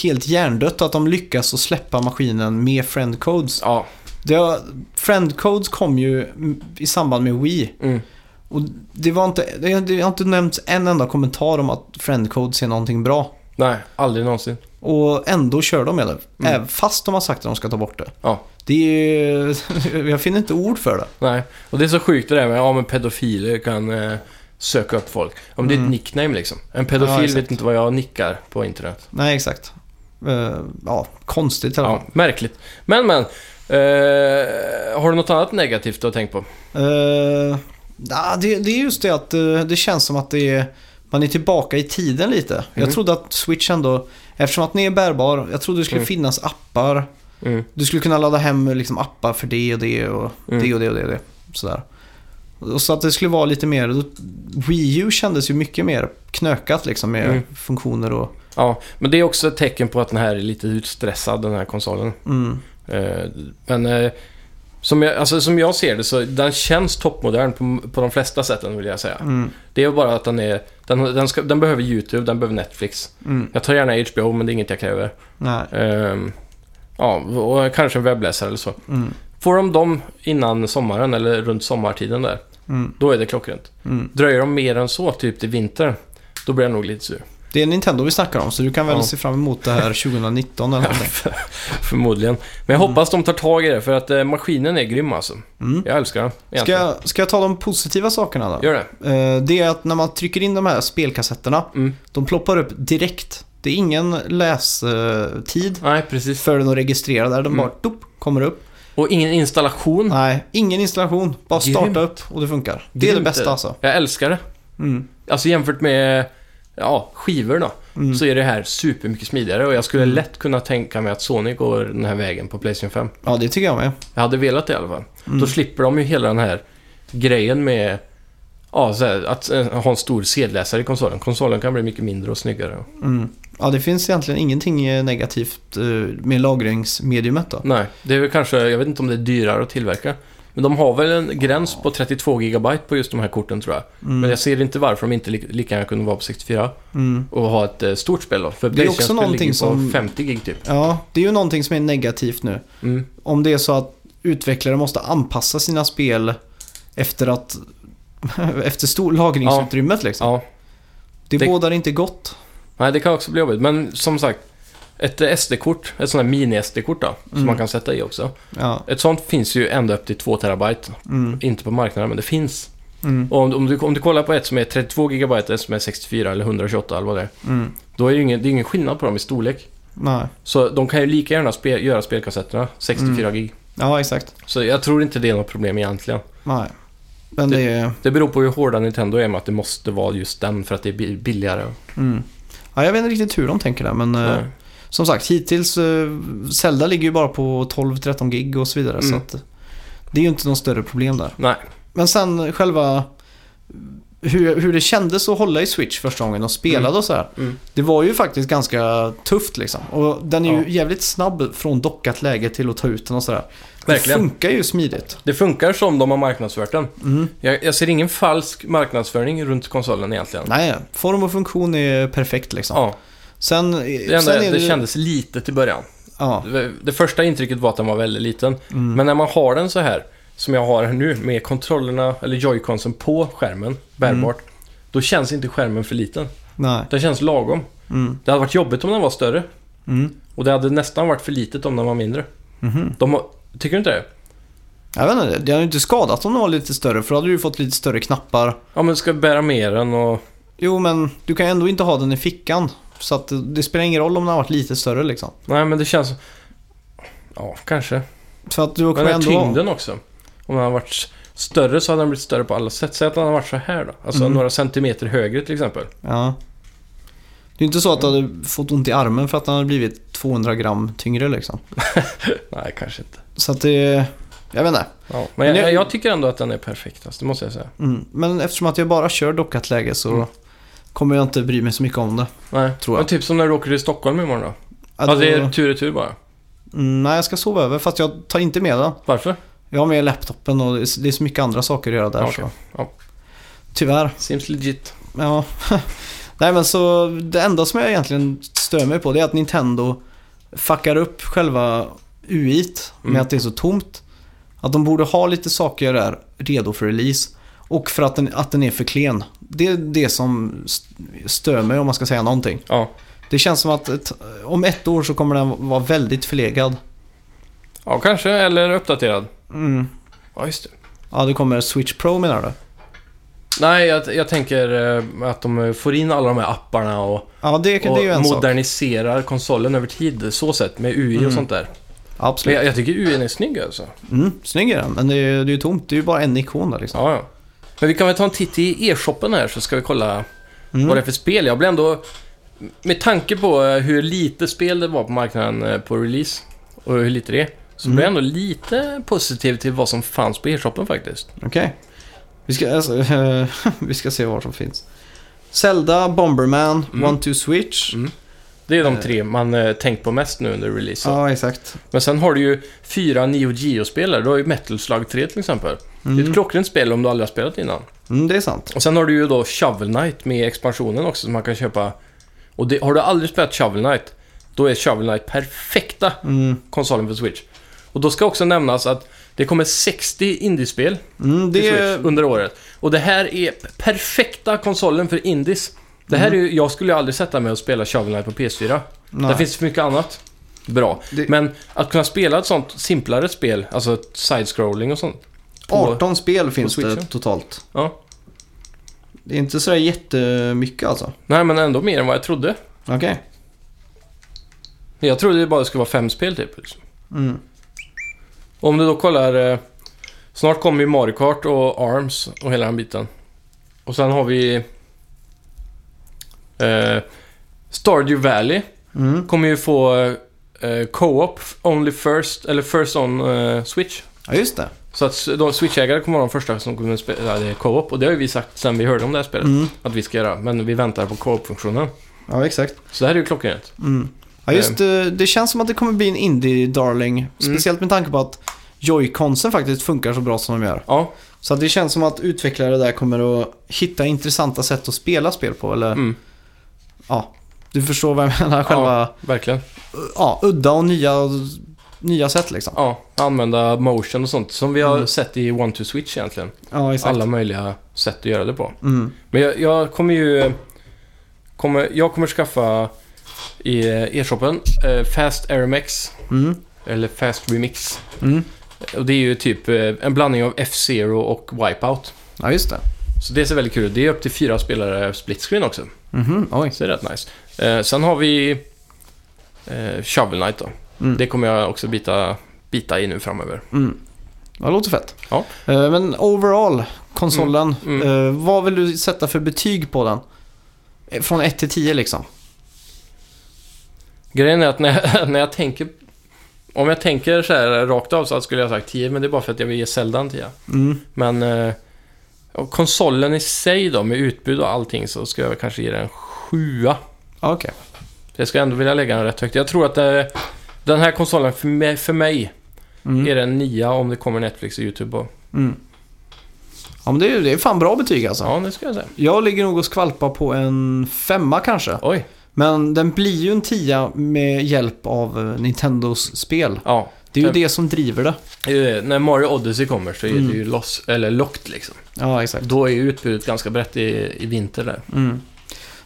S1: helt hjärndött att de lyckas att släppa maskinen med friend codes.
S2: Ja,
S1: Det har, friend codes kom ju mm, i samband med Wii.
S2: mm,
S1: Och det, var inte, det, det har inte nämnts en enda kommentar om att friend codes är någonting bra.
S2: nej, aldrig någonsin.
S1: Och ändå kör de med det.
S2: Mm.
S1: Även fast de har sagt att de ska ta bort det.
S2: Ja.
S1: Det är ju, jag finner inte ord för det.
S2: Nej, och det är så sjukt det där med ja, men pedofiler kan eh, söka upp folk. Om det är ett nickname liksom. En
S1: Mm. Ja,
S2: pedofil
S1: exakt.
S2: vet inte vad jag nickar på internet.
S1: Nej, exakt. Eh, ja, konstigt i alla fall.
S2: Ja, märkligt. Men, men. Eh, har du något annat negativt du har tänkt på?
S1: Eh, nah, det, det är just det att eh, det känns som att det är, man är tillbaka i tiden lite.
S2: Mm.
S1: Jag trodde att Switch ändå, eftersom att den är bärbar, jag trodde det skulle
S2: Mm.
S1: finnas appar.
S2: Mm.
S1: Du skulle kunna ladda hem liksom appar för det och det och
S2: Mm.
S1: det och det och det. Och det sådär. Och så att det skulle vara lite mer, då, Wii U kändes ju mycket mer knökat liksom med
S2: Mm.
S1: funktioner och...
S2: Ja, men det är också ett tecken på att den här är lite utstressad, den här konsolen.
S1: Mm,
S2: Eh, men eh, som, jag, alltså, som jag ser det så den känns toppmodern på, på de flesta sätten vill jag säga.
S1: mm,
S2: Det är bara att den är... Den, den, ska, den behöver YouTube, den behöver Netflix.
S1: mm,
S2: Jag tar gärna HBO, men det är inget jag kräver.
S1: nej,
S2: Ehm, ja, och kanske en webbläsare eller så.
S1: mm,
S2: Får de dem innan sommaren eller runt sommartiden där,
S1: mm,
S2: då är det klockrent.
S1: mm.
S2: Dröjer de mer än så, typ till vintern, då blir jag nog lite sur.
S1: Det är Nintendo vi snackar om så du kan väl
S2: Ja.
S1: se fram emot det här 2019 eller någonting.
S2: Förmodligen. Men jag hoppas de tar tag i det, för att eh, maskinen är grym alltså.
S1: Mm.
S2: Jag älskar den.
S1: Ska
S2: egentligen.
S1: jag, ska jag ta de positiva sakerna då?
S2: Gör det.
S1: Eh, Det är att när man trycker in de här spelkassetterna,
S2: Mm.
S1: de ploppar upp direkt. Det är ingen lästid
S2: Nej, precis.
S1: för den att registrera där. De
S2: Mm.
S1: bara dop, kommer upp.
S2: Och ingen installation.
S1: Nej, ingen installation. Bara
S2: Mm. Grymt.
S1: starta upp och det funkar. Det är det
S2: Grymt
S1: bästa alltså.
S2: Jag älskar det.
S1: Mm.
S2: Alltså jämfört med ja, skivor då,
S1: Mm.
S2: så är det här supermycket smidigare. Och jag skulle lätt kunna tänka mig att Sony går den här vägen på Playstation 5.
S1: Ja, det tycker jag med. Mm.
S2: Jag hade velat det i alla fall. Då slipper de ju hela den här grejen med Ja, så här, att eh, ha en stor sedläsare i konsolen. Konsolen kan bli mycket mindre och snyggare.
S1: Mm. Ja, det finns egentligen ingenting eh, negativt eh, med lagringsmediumet då.
S2: Nej, det är väl kanske, jag vet inte om det är dyrare att tillverka. Men de har väl en gräns på 32 GB på just de här korten tror jag. Men
S1: Mm.
S2: jag ser inte varför de inte li- lika gärna kunde vara på 64
S1: Mm.
S2: och ha ett eh, stort spel då. För
S1: Det är också
S2: Playstation-spel
S1: någonting
S2: ligger
S1: som-
S2: på 50 gig typ.
S1: Ja, det är ju någonting som är negativt nu.
S2: Mm.
S1: Om det är så att utvecklare måste anpassa sina spel efter att efter stor lagringsutrymmet liksom.
S2: Ja,
S1: Det,
S2: det-
S1: bådar inte gott.
S2: nej det kan också bli jobbigt. Men som sagt, ett eh, SD-kort, ett sånt här mini-SD-kort då, som
S1: Mm.
S2: man kan sätta i också.
S1: Ja,
S2: Ett sånt finns ju ända upp till 2 terabyte.
S1: mm,
S2: Inte på marknaden, men det finns.
S1: mm,
S2: Och om, om, du, om du kollar på ett som är 32 GB, ett som är 64 eller 128 eller vad det är.
S1: mm.
S2: Då är det ju ingen, det är ingen skillnad på dem i storlek.
S1: Nej.
S2: Så de kan ju lika gärna spe, göra spelkassetterna 64
S1: Mm.
S2: gig.
S1: Ja, exakt.
S2: Så jag tror inte det är något problem egentligen.
S1: Nej. Men det, är...
S2: Det beror på hur hårda Nintendo är med att det måste vara just den för att det är bi- billigare.
S1: Mm. Ja, jag vet inte riktigt hur de tänker där, men eh,
S2: Nej.
S1: som sagt, hittills... Eh, Zelda ligger ju bara på 12-13 gig och så vidare, så
S2: Mm.
S1: att eh, det är ju inte något större problem där.
S2: Nej.
S1: Men sen själva... Hur, hur det kändes att hålla i Switch första gången och spelade
S2: Mm.
S1: och så här.
S2: Mm.
S1: Det var ju faktiskt ganska tufft liksom. Och den är ju
S2: Ja.
S1: jävligt snabb från dockat läge till att ta ut den och sådär. Det
S2: Verkligen.
S1: funkar ju smidigt.
S2: Det funkar som de har marknadsfört den.
S1: Mm.
S2: Jag, jag ser ingen falsk marknadsföring runt konsolen egentligen.
S1: Nej, form och funktion är perfekt liksom.
S2: Ja,
S1: Sen,
S2: det, enda,
S1: sen är
S2: det...
S1: det,
S2: kändes litet i början.
S1: Ja,
S2: Det- Det första intrycket var att den var väldigt liten.
S1: Mm.
S2: Men när man har den så här, som jag har nu, med kontrollerna, eller joyconsen på skärmen, bärbart.
S1: Mm.
S2: Då känns inte skärmen för liten.
S1: nej.
S2: Den känns lagom.
S1: Mm.
S2: Det hade varit jobbigt om den var större.
S1: Mm.
S2: Och det hade nästan varit för litet om den var mindre.
S1: Mhm.
S2: De har, tycker du inte det?
S1: Jag vet inte, det hade ju inte skadat om den var lite större för då hade du ju fått lite större knappar.
S2: Ja, men du ska bära med den och...
S1: Jo, men du kan ju ändå inte ha den i fickan. Så att det, det spelar ingen roll om den har varit lite större liksom.
S2: Nej, men det känns... Ja, kanske.
S1: För att du
S2: Men den
S1: kommer
S2: här
S1: ändå...
S2: tyngden också. Om den hade varit s- större så hade den blivit större på alla sätt. Säg att den hade varit så här då. Alltså
S1: Mm.
S2: några centimeter högre till exempel.
S1: Ja. Det är ju inte så att du hade fått ont i armen för att den hade blivit 200 gram tyngre liksom.
S2: Nej, kanske inte.
S1: Så att det... Jag vet inte.
S2: Ja, men
S1: Men
S2: jag,
S1: jag-
S2: jag, tycker ändå att den är perfekt, alltså, det måste jag säga.
S1: Mm. Men eftersom att jag bara kör dockat läge så
S2: Mm.
S1: kommer jag inte bry mig så mycket om det.
S2: Nej,
S1: Tror jag.
S2: Men typ som när du åker till Stockholm imorgon då.
S1: Ja,
S2: Alltså det
S1: då-
S2: är tur och tur bara.
S1: Mm, nej, jag ska sova över fast jag tar inte med den.
S2: Varför?
S1: Jag har med laptopen och det är så- det är så mycket andra saker att göra där
S2: Ja,
S1: så.
S2: okej. Ja.
S1: Tyvärr.
S2: Seems legit.
S1: Ja. nej men så det enda som jag egentligen stör mig på det är att Nintendo fuckar upp själva UI't med
S2: Mm.
S1: att det är så tomt. Att de borde ha lite saker där redo för release. Och för att den, att den är för klen. Det är det som st- stör mig om man ska säga någonting.
S2: Ja.
S1: Det känns som att ett, om ett år så kommer den vara väldigt förlegad.
S2: ja, kanske. Eller uppdaterad.
S1: Mm.
S2: Ja, just det.
S1: Ja, det kommer Switch Pro menar du?
S2: Nej, jag, jag tänker eh, att de får in alla de här apparna och,
S1: Ja, det, det är ju en
S2: och
S1: sak.
S2: moderniserar konsolen över tid. Så sett, med UI
S1: Mm.
S2: och sånt där. Men
S1: Absolut.
S2: jag, jag tycker UI är snygg alltså.
S1: Mm, snygg är den, men det är ju det är ju tomt. Det är ju bara en ikon där liksom.
S2: Ja, ja. Men vi kan väl ta en titt i e-shoppen här så ska vi kolla vad det är
S1: Mm.
S2: för spel. Jag blir ändå... Med tanke på eh, hur lite spel det var på marknaden eh, på release och hur lite det är, så
S1: Mm.
S2: blir jag ändå lite positiv till vad som fanns på e-shoppen faktiskt.
S1: Okej. Vi, ska, alltså, eh, vi ska se vad som finns. Zelda, Bomberman,
S2: Mm.
S1: One Two Switch.
S2: Mm. Det är de
S1: Eh.
S2: tre man eh, tänkt på mest nu under releasen.
S1: Ja, exakt.
S2: Men sen har du ju fyra Neo Geo-spelare. Du har ju Metal Slug 3 till exempel. Det är ett
S1: Mm.
S2: klockrent spel om du aldrig har spelat innan.
S1: Mm, det är sant.
S2: Och sen har du ju då Shovel Knight med expansionen också som man kan köpa. Och det, har du aldrig spelat Shovel Knight, då är Shovel Knight perfekta
S1: Mm.
S2: konsolen för Switch. Och då ska också nämnas att det kommer 60 indiespel
S1: Mm,
S2: till
S1: det är...
S2: Switch under året. Och det här är p- perfekta konsolen för indies. Det här är ju, jag skulle ju aldrig sätta mig och spela Shovel Knight på PS4.
S1: Mm. Nej.
S2: Där finns för mycket annat bra.
S1: Det-
S2: Men att kunna spela ett sånt simplare spel, alltså ett side-scrolling och sånt. på-
S1: 18 spel finns
S2: Switch,
S1: det
S2: ja.
S1: totalt.
S2: Ja.
S1: Det är inte sådär jättemycket alltså.
S2: Nej, men ändå mer än vad jag trodde.
S1: Okej.
S2: Jag trodde det bara skulle vara fem spel typ. liksom.
S1: Mm.
S2: Om du då kollar... Eh, snart kommer ju Mario Kart och Arms och hela den biten. Och sen har vi... Eh, Stardew Valley
S1: Mm.
S2: kommer ju få eh, eh, Co-op Only First, eller First On eh, Switch.
S1: Ja, just det.
S2: Så att s- de switchägare kommer vara de första som kommer att spela det co-op. Och det har ju vi sagt sen vi hörde om det här spelet
S1: Mm.
S2: att vi ska göra. Men vi väntar på co-op-funktionen.
S1: Ja, exakt.
S2: Så det här är ju klockrent.
S1: Mm. Ja,
S2: Ehm.
S1: just eh, det känns som att det kommer bli en indie-darling.
S2: Mm.
S1: Speciellt med tanke på att Joy-Consen faktiskt funkar så bra som de gör.
S2: Ja,
S1: Så att det känns som att utvecklare där kommer att hitta intressanta sätt att spela spel på. Eller
S2: mm,
S1: ja, du förstår vad jag menar. Själva
S2: verkligen.
S1: ja, udda och nya, nya sätt liksom.
S2: Ja, använda motion och sånt som vi har
S1: Mm.
S2: sett i One to Switch egentligen.
S1: Ja, exakt.
S2: Alla möjliga sätt att göra det på.
S1: Mm.
S2: Men jag, jag kommer ju... Kommer, jag kommer skaffa i eh, e-shoppen eh, Fast RMX,
S1: Mm.
S2: eller Fast Remix.
S1: Mm.
S2: Och det är ju typ eh, en blandning av F-Zero och Wipeout.
S1: Ja, just det.
S2: Så det ser väldigt kul ut. Det är upp till fyra spelare split screen också.
S1: Mhm, oj.
S2: Så det är rätt nice. Eh, sen har vi eh, Shovel Knight då.
S1: Mm.
S2: Det kommer jag också bita, bita i nu framöver.
S1: Mm. Ja, det låter fett.
S2: Ja.
S1: Eh, Men overall, konsolen.
S2: Mm,
S1: eh, Vad vill du sätta för betyg på den? Eh, Från 1 till 10 liksom.
S2: Grejen är att när jag, när jag tänker... Om jag tänker så här rakt av så skulle jag ha sagt 10, men det är bara för att jag vill ge Zelda en 10.
S1: Mm.
S2: Men eh, och konsolen i sig då, med utbud och allting, så ska jag kanske ge den en 7.
S1: Ja, Okej.
S2: Jag ska ändå vilja lägga den rätt högt. Jag tror att eh, den här konsolen för mig, för mig är
S1: Mm.
S2: den 9 om det kommer Netflix och YouTube på.
S1: Mm. Ja, men det är, det är fan bra betyg alltså.
S2: Ja, det ska jag säga.
S1: Jag ligger nog och skvalpar på en femma kanske.
S2: Oj.
S1: Men den blir ju en tia med hjälp av eh, Nintendos spel.
S2: Ja.
S1: Det är ju
S2: Fem.
S1: det som driver det.
S2: Eh, när Mario Odyssey kommer så är
S1: Mm.
S2: det ju loss, eller lockt liksom.
S1: Ja, exakt.
S2: Då är ju utbudet ganska brett i, i vinter där.
S1: Mm.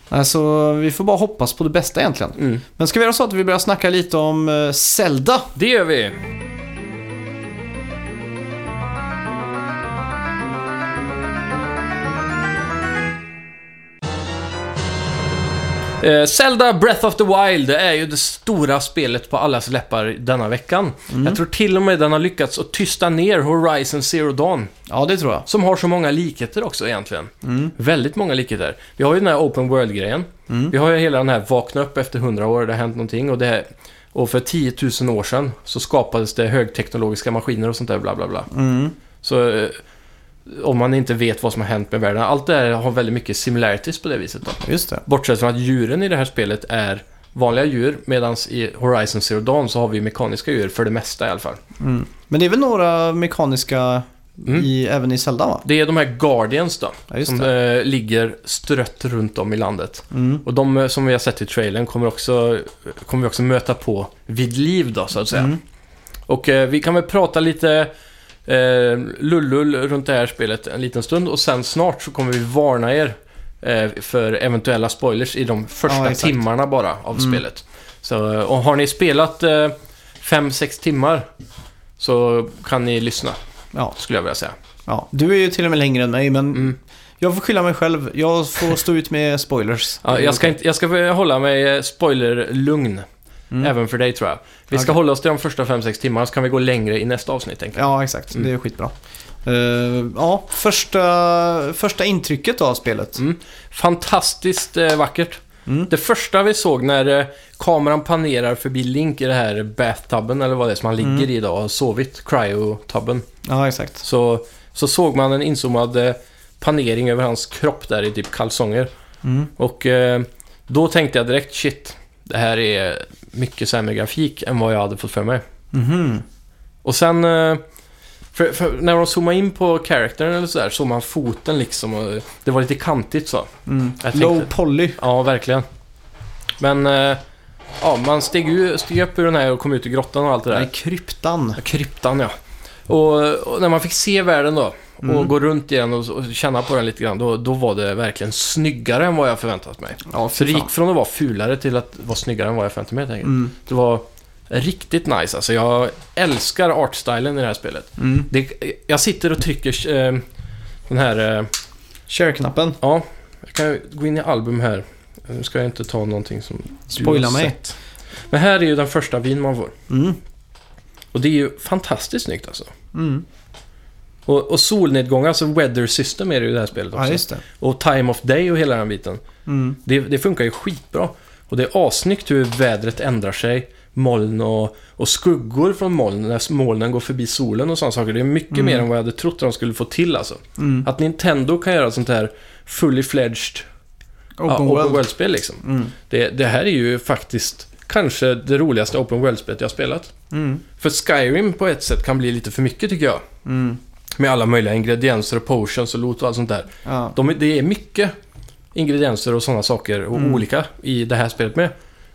S1: Alltså, vi får bara hoppas på det bästa egentligen.
S2: Mm.
S1: Men ska vi göra så att vi börjar snacka lite om eh, Zelda?
S2: Det gör vi! Eh, Zelda Breath of the Wild är ju det stora spelet på allas läppar denna veckan. Jag tror till och med den har lyckats att tysta ner Horizon Zero Dawn.
S1: Ja, det tror jag.
S2: Som har så många likheter också egentligen. Väldigt många likheter. Vi har ju den här Open World-grejen. Vi har ju hela den här vakna upp efter 100 år, det har hänt någonting. Och, det här, och för 10 000 år sedan så skapades det högteknologiska maskiner och sånt där bla bla bla.
S1: Mm.
S2: Så eh, om man inte vet vad som har hänt med världen. Allt det här har väldigt mycket similarities på det viset. Då.
S1: Just det.
S2: Bortsett från att djuren i det här spelet är vanliga djur. Medan i Horizon Zero Dawn så har vi mekaniska djur för det mesta i alla fall.
S1: Mm. Men det är väl några mekaniska
S2: Mm.
S1: i, även i Zelda va?
S2: Det är de här Guardians då.
S1: Ja, just
S2: som
S1: det.
S2: eh, ligger strött runt om i landet.
S1: Mm.
S2: Och de eh, som vi har sett i trailern kommer, också, kommer vi också möta på vid liv då, så att säga.
S1: Mm.
S2: Och eh, vi kan väl prata lite eh, lullull runt det här spelet en liten stund och sen snart så kommer vi varna er eh, för eventuella spoilers i de första
S1: Ja, exakt. Mm.
S2: timmarna bara av spelet. Så, eh, och har ni spelat 5-6 timmar så kan ni lyssna,
S1: Ja,
S2: skulle jag vilja säga.
S1: ja, du är ju till och med längre än mig men
S2: Mm.
S1: jag får skylla mig själv. Jag får stå ut med spoilers.
S2: Ja, jag, ska inte, jag ska hålla mig eh, spoilerlugn.
S1: Mm.
S2: Även för dig tror jag. Vi ska
S1: Okej.
S2: hålla oss till de första 5-6 timmarna så kan vi gå längre i nästa avsnitt. Tänker jag.
S1: Ja, exakt.
S2: Mm.
S1: Det är skitbra. Eh, ja, första, första intrycket då av spelet.
S2: Mm. Fantastiskt eh, vackert.
S1: Mm.
S2: Det första vi såg när eh, kameran panerar förbi Link i det här bathtubben eller vad det är som han
S1: Mm.
S2: ligger i idag och har sovit, cryo-tubben.
S1: Ja, exakt.
S2: Så, så såg man en inzoomad eh, panering över hans kropp där i typ kalsonger.
S1: Mm.
S2: Och eh, då tänkte jag direkt shit, det här är mycket sämre grafik än vad jag hade fått för mig.
S1: Mhm.
S2: Och sen... eh, För, för när de zoomade in på charactern eller sådär såg man foten liksom och det var lite kantigt så.
S1: Mm.
S2: tänkte-
S1: Low poly.
S2: Ja, verkligen. Men... eh, Ja, man steg, ju, steg upp ur den här och kom ut i grottan och allt det där.
S1: Nej, kryptan.
S2: Ja, Kryptan, ja. Och, och när man fick se världen då och
S1: Mm.
S2: gå runt i den och, och känna på den lite grann, då, då var det verkligen snyggare än vad jag förväntat mig.
S1: Ja,
S2: Så det
S1: fy fan.
S2: gick från att vara fulare till att vara snyggare än vad jag förväntat mig helt enkelt.
S1: Mm.
S2: Det var riktigt nice alltså. Jag älskar artstylen i det här spelet.
S1: Mm.
S2: Det, jag sitter och trycker eh, den här... Eh,
S1: Share-knappen.
S2: ja, jag kan gå in i album här. Nu ska jag inte ta någonting som...
S1: Spoila
S2: har
S1: mig.
S2: sett. Men här är ju den första vin man får.
S1: Mm.
S2: Och det är ju fantastiskt snyggt alltså.
S1: Mm.
S2: Och, och solnedgångar, alltså weather system är det ju i det här spelet
S1: Ja,
S2: också.
S1: just det.
S2: och time of day och hela den biten.
S1: Mm.
S2: Det, det funkar ju skitbra. Och det är assnyggt hur vädret ändrar sig moln och, och skuggor från moln när molnen går förbi solen och sådana saker. Det är mycket
S1: Mm.
S2: mer än vad jag hade trott de skulle få till alltså.
S1: Mm.
S2: Att Nintendo kan göra sånt här fully fledged
S1: Open
S2: ja,
S1: world.
S2: open world-spel liksom.
S1: Mm.
S2: Det, det här är ju faktiskt kanske det roligaste open world-spelet jag har spelat.
S1: Mm.
S2: För Skyrim på ett sätt kan bli lite för mycket tycker jag.
S1: Mm.
S2: Med alla möjliga ingredienser och potions och loot och allt sånt där.
S1: Ja.
S2: De, det är mycket ingredienser och sådana saker och
S1: Mm.
S2: olika i det här spelet med.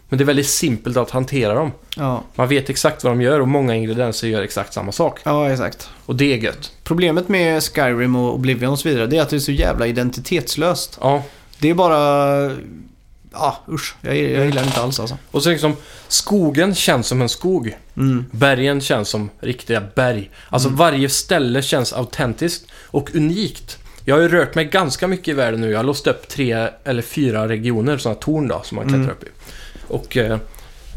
S2: Men det är väldigt simpelt att hantera dem.
S1: Ja.
S2: Man vet exakt vad de gör och många ingredienser gör exakt samma sak.
S1: ja, exakt.
S2: Och det är gött.
S1: Problemet med Skyrim och Oblivion och så vidare, det är att det är så jävla identitetslöst.
S2: Ja.
S1: Det är bara... Ja, usch. Jag, jag gillar det inte alls alltså.
S2: Och så liksom, skogen känns som en skog.
S1: Mm.
S2: Bergen känns som riktiga berg. Alltså varje ställe känns autentiskt och unikt. Jag har ju rört mig ganska mycket i världen nu. Jag har låst upp tre eller fyra regioner, sådana torn då, som man klättrar
S1: Mm.
S2: upp i. Och eh,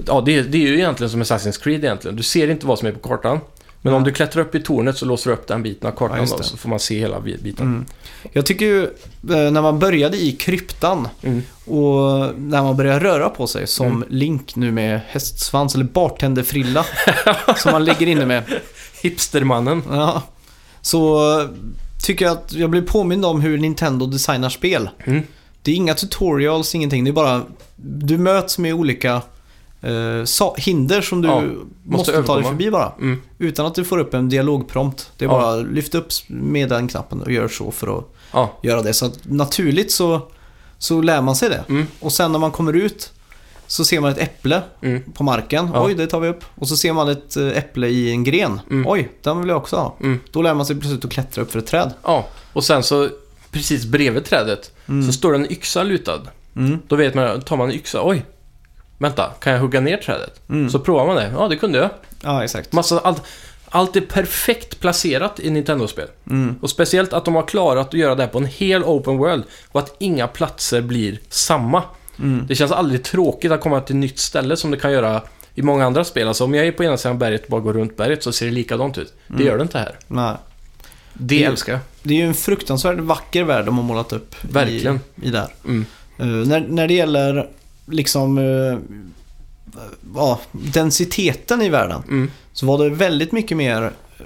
S2: ja, det, är- det är ju egentligen som Assassin's Creed egentligen. Du ser inte vad som är på kartan. Men om
S1: Ja.
S2: du klättrar upp i tornet så låser du upp den biten av kartan
S1: Ja, just
S2: då,
S1: det.
S2: så får man se hela vi- biten.
S1: Mm. Jag tycker ju, eh, när man började i kryptan
S2: Mm.
S1: och när man började röra på sig som Link nu med hästsvans eller bartenderfrilla som man ligger inne med.
S2: Hipstermannen.
S1: Ja. Så eh, tycker jag att jag blir påmind om hur Nintendo designar spel.
S2: Mm.
S1: Det är inga tutorials, ingenting. Det är bara du möts med olika eh, sa- hinder som du
S2: Ja,
S1: måste, ta dig
S2: överkomma.
S1: förbi bara.
S2: Mm.
S1: Utan att du får upp en dialogprompt. Det är
S2: Ja.
S1: bara lyft upp med den knappen och gör så för att
S2: Ja.
S1: göra det. Så att naturligt så, så lär man sig det.
S2: Mm.
S1: Och sen när man kommer ut så ser man ett äpple
S2: Mm.
S1: på marken.
S2: Ja.
S1: Oj, det tar vi upp. Och så ser man ett eh, äpple i en gren.
S2: Mm.
S1: Oj, den vill jag också ha.
S2: Mm.
S1: Då lär man sig plötsligt att klättra upp för ett träd.
S2: ja. Och sen så, precis bredvid trädet, så står det en yxa lutad.
S1: Mm.
S2: Då vet man, tar man en yxa, oj, vänta, kan jag hugga ner trädet?
S1: Mm.
S2: Så provar man det, ja det kunde jag.
S1: Ja, exakt.
S2: Massa, allt, allt är perfekt placerat i Nintendo-spel.
S1: Mm.
S2: Och speciellt att de har klarat att göra det här på en hel open world och att inga platser blir samma.
S1: Mm.
S2: Det känns aldrig tråkigt att komma till ett nytt ställe som det kan göra i många andra spel. Alltså om jag är på ena sidan berget och bara går runt berget så ser det likadant ut. Det gör det inte här.
S1: Nej.
S2: Mm. Det
S1: Det-
S2: älskar jag.
S1: Det är ju en fruktansvärt vacker värld de har målat upp.
S2: Verkligen.
S1: I, i där.
S2: Mm.
S1: Eh, när, när det gäller liksom eh, ja, densiteten i världen
S2: Mm.
S1: så var det väldigt mycket mer eh,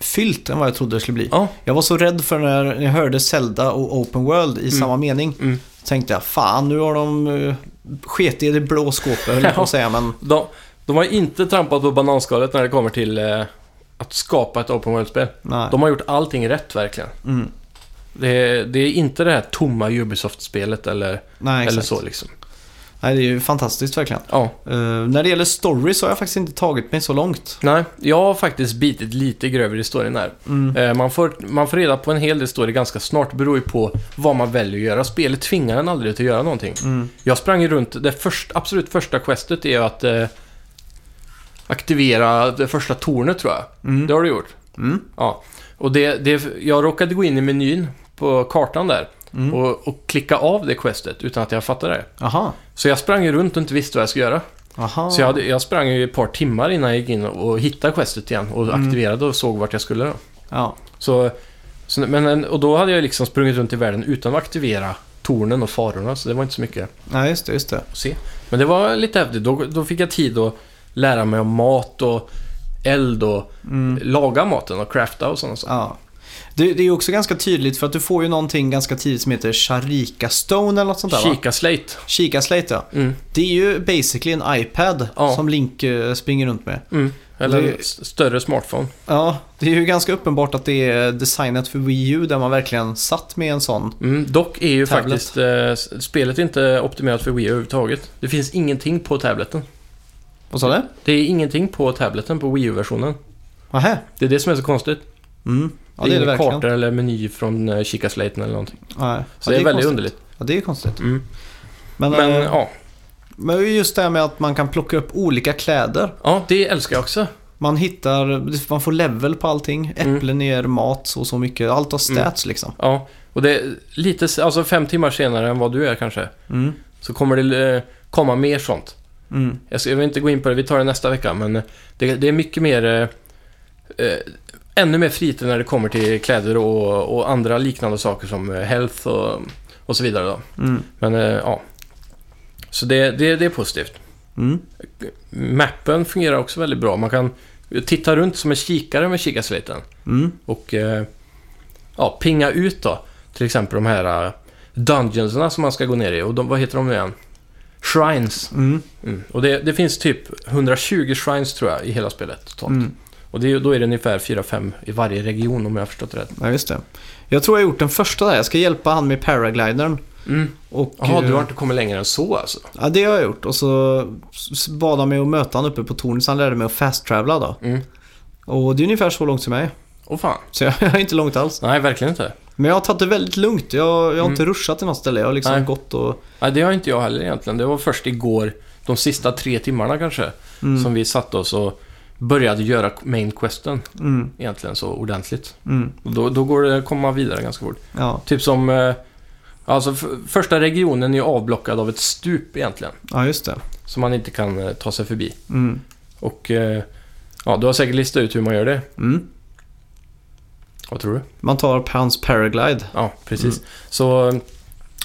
S1: fyllt än vad jag trodde det skulle bli.
S2: Ja.
S1: Jag var så rädd för när jag hörde Zelda och Open World i samma mening.
S2: Mm.
S1: tänkte jag, fan nu har de uh, sket i det blå skåpet höll jag på att säga. Men,
S2: De, de har inte trampat på bananskalet när det kommer till eh, att skapa ett open world-spel.
S1: nej.
S2: De har gjort allting rätt verkligen.
S1: Mm.
S2: Det är, det är inte det här tomma Ubisoft-spelet eller,
S1: nej,
S2: eller
S1: exakt.
S2: så liksom.
S1: Nej, det är ju fantastiskt verkligen.
S2: Ja.
S1: Eh, när det gäller story så har jag faktiskt inte tagit mig så långt.
S2: Nej, jag har faktiskt bitit lite grövre i storyn här.
S1: Mm.
S2: Eh, Man får, man får reda på en hel del story ganska snart, beror ju på vad man väljer att göra. Spelet tvingar en aldrig till att göra någonting.
S1: Mm.
S2: Jag sprang ju runt, det först, absolut första questet är ju att eh, aktivera det första tornet tror jag.
S1: Mm.
S2: Det har du gjort.
S1: Mm.
S2: Ja, och det, det, jag råkade gå in i menyn på kartan där
S1: Mm.
S2: och, och klicka av det questet utan att jag fattade det.
S1: Aha.
S2: Så jag sprang ju runt och inte visste vad jag skulle göra.
S1: Aha.
S2: Så jag, hade, jag sprang ju ett par timmar innan jag gick in och hittade questet igen och
S1: Mm.
S2: aktiverade och såg vart jag skulle. Då.
S1: Ja.
S2: Så, så, men, och då hade jag liksom sprungit runt i världen utan att aktivera tornen och farorna, så det var inte så mycket
S1: Nej, just det, just det.
S2: att se. Men det var lite häftigt. Då, då fick jag tid att lära mig om mat och eld och
S1: Mm.
S2: laga maten och crafta och sådana saker.
S1: Ja. Det, det är ju också ganska tydligt för att du får ju någonting ganska tidigt som heter Sharika Stone eller något sånt där va?
S2: Kika slate.
S1: Kika Slate ja.
S2: Mm.
S1: Det är ju basically en iPad
S2: Ja.
S1: som Link eh, springer runt med.
S2: Mm. Eller
S1: Det-
S2: en s- större smartphone.
S1: Ja, det är ju ganska uppenbart att det är designat för Wii U där man verkligen satt med en sån.
S2: Mm. Dock är ju
S1: Tablet.
S2: faktiskt eh, s- spelet inte optimerat för Wii överhuvudtaget. Det finns ingenting på tableten.
S1: Vad sa du?
S2: Det är ingenting på tableten på Wii U-versionen.
S1: Nähä?
S2: Det är det som är så konstigt.
S1: Mm. Ja, det är det
S2: inga
S1: verkligen.
S2: kartor eller meny från eh, Kika-slaten eller någonting.
S1: Nej.
S2: Så
S1: Ja,
S2: det, är, väldigt
S1: konstigt.
S2: underligt.
S1: Ja, det är konstigt.
S2: Mm.
S1: Men,
S2: Men
S1: eh,
S2: ja.
S1: men just det här med att man kan plocka upp olika kläder.
S2: ja, det älskar jag också.
S1: Man hittar, man får level på allting.
S2: Mm.
S1: Äpplen ger mat så och så mycket. Allt har stats liksom.
S2: Ja, och det är lite, s- alltså fem timmar senare än vad du är kanske,
S1: Mm.
S2: så kommer det eh, komma mer sånt.
S1: Mm.
S2: Jag, ska, jag vill inte gå in på det, vi tar det nästa vecka, men eh, det, det är mycket mer... eh, Eh, ännu mer fritid när det kommer till kläder och, och andra liknande saker som eh, health och, och så vidare. Då.
S1: Mm.
S2: Men eh, ja. Så det, det, det är positivt.
S1: Mm.
S2: Mappen fungerar också väldigt bra. Man kan titta runt som en kikare med kikarsliten.
S1: Mm.
S2: Och eh, ja, pinga ut då. Till exempel de här eh, dungeonserna som man ska gå ner i. Och de, vad heter de nu igen? Shrines.
S1: Mm.
S2: Mm. Och det, det finns typ 120 shrines tror jag i hela spelet totalt.
S1: Mm.
S2: Och det, är ju- då är det ungefär 4-5 i varje region om jag har förstått det rätt.
S1: Ja, just det. Jag tror jag har gjort den första där. Jag ska hjälpa han med paraglidern.
S2: Mm.
S1: Och,
S2: Jaha,
S1: eh,
S2: du har inte kommit längre än så alltså?
S1: Ja, det har jag gjort. Och så s- bad han mig att möta han uppe på tornet så han lärde mig att fast-travla då.
S2: Mm.
S1: Och det är ungefär så långt som jag är.
S2: Åh fan.
S1: Så jag är inte långt alls.
S2: Nej, verkligen inte.
S1: Men jag har tagit det väldigt lugnt. Jag, jag har inte ruschat till något ställe. Jag har liksom
S2: Mm. Nej.
S1: gått och...
S2: Nej, det har inte jag heller egentligen. Det var först igår, de sista tre timmarna kanske,
S1: Mm.
S2: som vi satte oss och började göra main questen
S1: Mm,
S2: egentligen så ordentligt.
S1: mm,
S2: Och då, då går det, kommer man vidare ganska fort.
S1: ja.
S2: Typ som... eh, Alltså, f- första regionen är ju avblockad av ett stup egentligen,
S1: ja, just det.
S2: som man inte kan eh, ta sig förbi.
S1: Mm.
S2: Och... eh, Ja, du har säkert listat ut hur man gör det.
S1: Mm.
S2: Vad tror du?
S1: Man tar hans paraglide.
S2: Ja, precis. Så eh,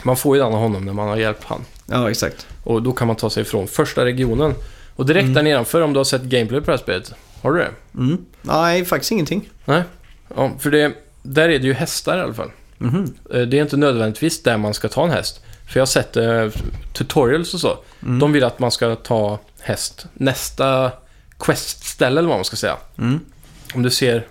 S2: man får ju den av honom när man har hjälpt han.
S1: Ja, exakt.
S2: Och då kan man ta sig ifrån första regionen. Och direkt där nedanför, om du har sett gameplay på det här spelet. Har du det?
S1: Mm. Nej, faktiskt ingenting.
S2: Nej. Ja, för det, där är det ju hästar i alla fall.
S1: Mhm.
S2: Eh, Det är inte nödvändigtvis där man ska ta en häst. För jag har sett eh, tutorials och så.
S1: Mm.
S2: De vill att man ska ta häst nästa questställe eller vad man ska säga.
S1: Mm.
S2: Om du ser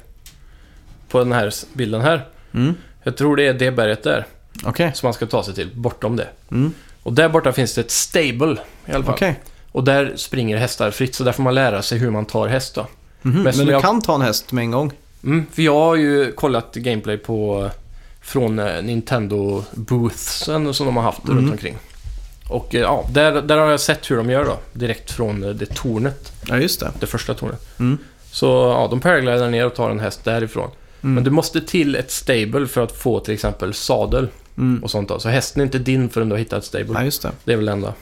S2: på den här s- bilden här.
S1: Mm.
S2: Jag tror det är det berget där
S1: Okej.
S2: som man ska ta sig till, bortom det.
S1: Mm.
S2: Och där borta finns det ett stable i alla fall.
S1: Okej.
S2: Och där springer hästar fritt, så där får man lära sig hur man tar häst då.
S1: Mhm.
S2: Men som
S1: Men du
S2: jag-
S1: kan ta en häst med en gång?
S2: Mm, för jag har ju kollat gameplay på eh, från eh, Nintendo Boothsen som de har haft
S1: Mm.
S2: runt omkring. Och eh, ja, där, där har jag sett hur de gör då. Direkt från eh, det tornet,
S1: Ja, just det.
S2: det första tornet.
S1: Mm.
S2: Så ja, de paraglider ner och tar en häst därifrån.
S1: Mm.
S2: Men du måste till ett stable för att få till exempel sadel
S1: Mm.
S2: och sånt då. Så hästen är inte din förrän du har hittat ett stable.
S1: Ja, just det.
S2: Det är väl det enda.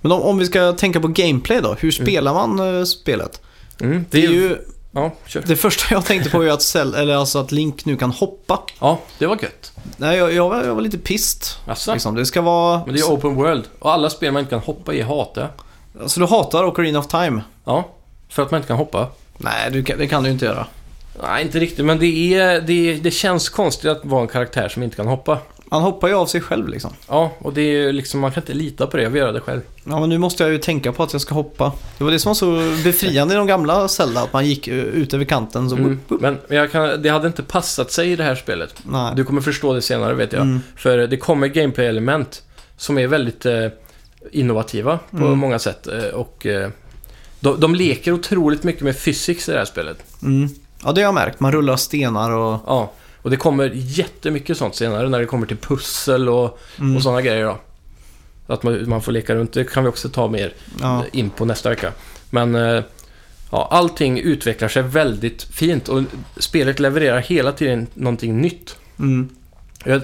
S1: Men om, om vi ska tänka på gameplay då. Hur spelar man eh, spelet?
S2: Mm,
S1: Det, är ju,
S2: Ja, kör.
S1: det första jag tänkte på är ju att, Cell, eller alltså att Link nu kan hoppa.
S2: Ja, det var gött.
S1: Nej, jag, jag, var, jag var lite pist.
S2: Alltså.
S1: Liksom. Det ska vara...
S2: Men det är open world och alla spel man inte kan hoppa i hatar jag.
S1: Så Alltså, du hatar Ocarina of Time?
S2: Ja, för att man inte kan hoppa.
S1: Nej, du kan, det kan du ju inte göra.
S2: Nej, inte riktigt, men det, är, det, det känns konstigt att vara en karaktär som inte kan hoppa.
S1: Han hoppar ju av sig själv liksom.
S2: Ja, och det är ju liksom, man kan inte lita på det. Jag vill göra det själv.
S1: Ja, men nu måste jag ju tänka på att jag ska hoppa. Det var det som var så befriande i de gamla Zelda, att man gick eh, ut över kanten så...
S2: Mm. Men men jag kan, det hade inte passat sig i det här spelet.
S1: Nej.
S2: Du kommer förstå det senare, vet jag.
S1: Mm.
S2: För det kommer gameplay-element som är väldigt eh, innovativa på
S1: Mm.
S2: många sätt. eh, Och eh, de, de leker otroligt mycket med physics i det här spelet.
S1: Mm. Ja, det har jag märkt. Man rullar stenar och...
S2: Ja, och det kommer jättemycket sånt senare när det kommer till pussel och,
S1: Mm.
S2: och sådana grejer då. Att man, man får leka runt, det kan vi också ta mer
S1: Ja.
S2: eh, in på nästa vecka. Men eh, ja, allting utvecklar sig väldigt fint och spelet levererar hela tiden någonting nytt.
S1: Mm.
S2: Jag,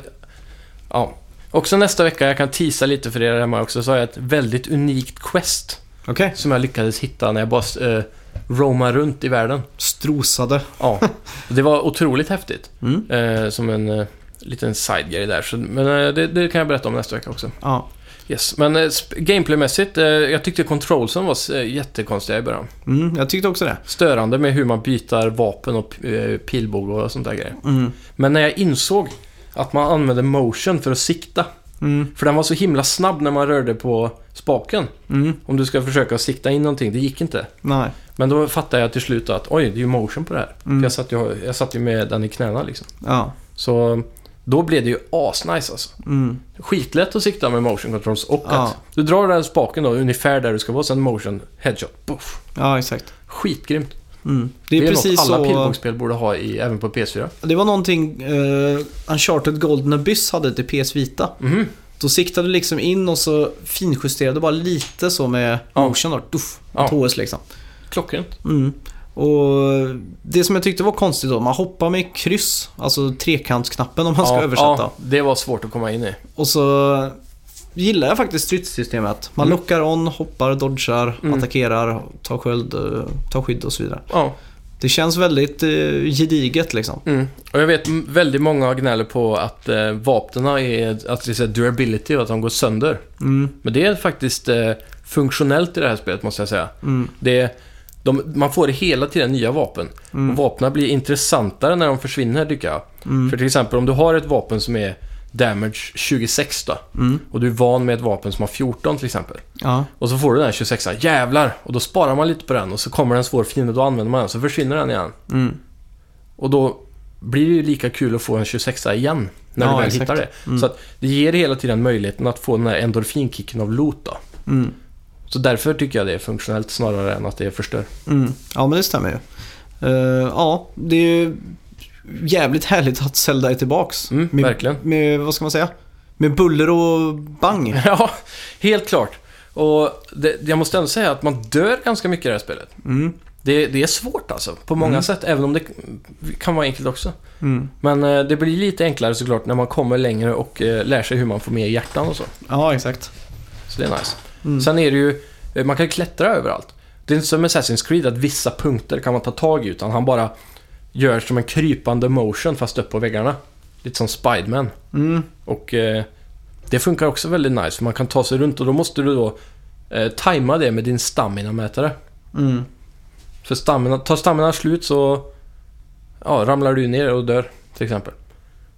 S2: ja. Också nästa vecka, jag kan tisa lite för er hemma också, så har jag ett väldigt unikt quest
S1: Okej.
S2: som jag lyckades hitta när jag bara eh, roamade runt i världen.
S1: Strosade.
S2: Ja, det var otroligt häftigt.
S1: Mm.
S2: Eh, som en eh, liten sidegrej där. Så, men eh, det, det kan jag berätta om nästa vecka också.
S1: Ja.
S2: Yes. Men eh, sp- gameplaymässigt, eh, jag tyckte controlsen var eh, jättekonstiga i början.
S1: Mm. Jag tyckte också det.
S2: Störande med hur man byter vapen och p- eh, pilbåge och sånt där grejer.
S1: Mm.
S2: Men när jag insåg att man använde motion för att sikta.
S1: Mm.
S2: För den var så himla snabb när man rörde på spaken.
S1: Mm.
S2: Om du ska försöka sikta in någonting, det gick inte.
S1: Nej.
S2: Men då fattade jag till slut att oj, det är ju motion på det här.
S1: Mm.
S2: För jag satt, ju, jag satt ju med den i knäna liksom.
S1: Ja.
S2: Så då blev det ju asnice alltså.
S1: Mm.
S2: Skitlätt att sikta med motion controls och
S1: Ja.
S2: att du drar den här spaken då ungefär där du ska vara, sen motion headshot. Puff.
S1: Ja, exakt.
S2: Skitgrymt.
S1: Mm.
S2: Det
S1: Det
S2: är,
S1: är, precis
S2: något alla
S1: så...
S2: pilbågsspel borde ha i, även på PS4.
S1: Det var någonting eh, Uncharted Golden Abyss hade till PS Vita.
S2: Mhm.
S1: Då siktade du liksom in och så finjusterade du bara lite så med
S2: Ja.
S1: motion då. Duff,
S2: Ja.
S1: ett HS liksom.
S2: Klockrent.
S1: Mm. Och det som jag tyckte var konstigt då, man hoppar med kryss, alltså trekantsknappen om man ska
S2: ja,
S1: översätta.
S2: Ja, det var svårt att komma in i.
S1: Och så gillar jag faktiskt stridssystemet. Man
S2: Mm.
S1: lockar on, hoppar, dodgar,
S2: Mm.
S1: attackerar, tar sköld, eh, tar skydd och så vidare.
S2: Ja.
S1: Det känns väldigt eh, gediget liksom.
S2: Mm. Och jag vet m- väldigt många gnäller på att eh, vapnena är, att det är så här durability och att de går sönder.
S1: Mm.
S2: Men det är faktiskt eh, funktionellt i det här spelet, måste jag säga.
S1: Mm.
S2: Det, de, man får hela tiden nya vapen.
S1: Mm.
S2: Och vapnen blir intressantare när de försvinner, tycker jag.
S1: Mm.
S2: För till exempel om du har ett vapen som är damage 26 då,
S1: Mm.
S2: och du är van med ett vapen som har 14 till exempel.
S1: Ja.
S2: Och så får du den här 26 jävlar! Och då sparar man lite på den och så kommer den svår fiende, då använder man den, så försvinner den igen.
S1: Mm.
S2: Och då blir det ju lika kul att få en 26 igen, när
S1: Ja,
S2: du väl
S1: exakt.
S2: hittar det.
S1: Mm.
S2: Så att det ger hela tiden möjligheten att få den här endorfinkicken av loot då.
S1: Mm.
S2: Så därför tycker jag det är funktionellt snarare än att det förstör.
S1: Mm. Ja, men det stämmer ju. Eh, ja, det är ju jävligt härligt att Zelda är tillbaks.
S2: Mm,
S1: med,
S2: verkligen.
S1: Med, vad ska man säga? Med buller och bang.
S2: ja, helt klart. Och det, jag måste ändå säga att man dör ganska mycket i det här spelet.
S1: Mm.
S2: Det, det är svårt alltså, på många
S1: Mm.
S2: sätt, även om det kan vara enkelt också.
S1: Mm.
S2: Men eh, det blir lite enklare såklart när man kommer längre och eh, lär sig hur man får med hjärtan och så.
S1: Ja, exakt.
S2: Så det är nice.
S1: Mm.
S2: Sen är det ju, eh, man kan ju klättra överallt. Det är inte som Assassin's Creed att vissa punkter kan man ta tag i utan han bara gör som en krypande motion fast upp på väggarna. Lite som Spiderman.
S1: Mm.
S2: Och eh, det funkar också väldigt nice för man kan ta sig runt och då måste du då eh, tajma det med din stamina-mätare.
S1: Mm.
S2: För stamina, tar stamina slut så ja, ramlar du ner och dör till exempel.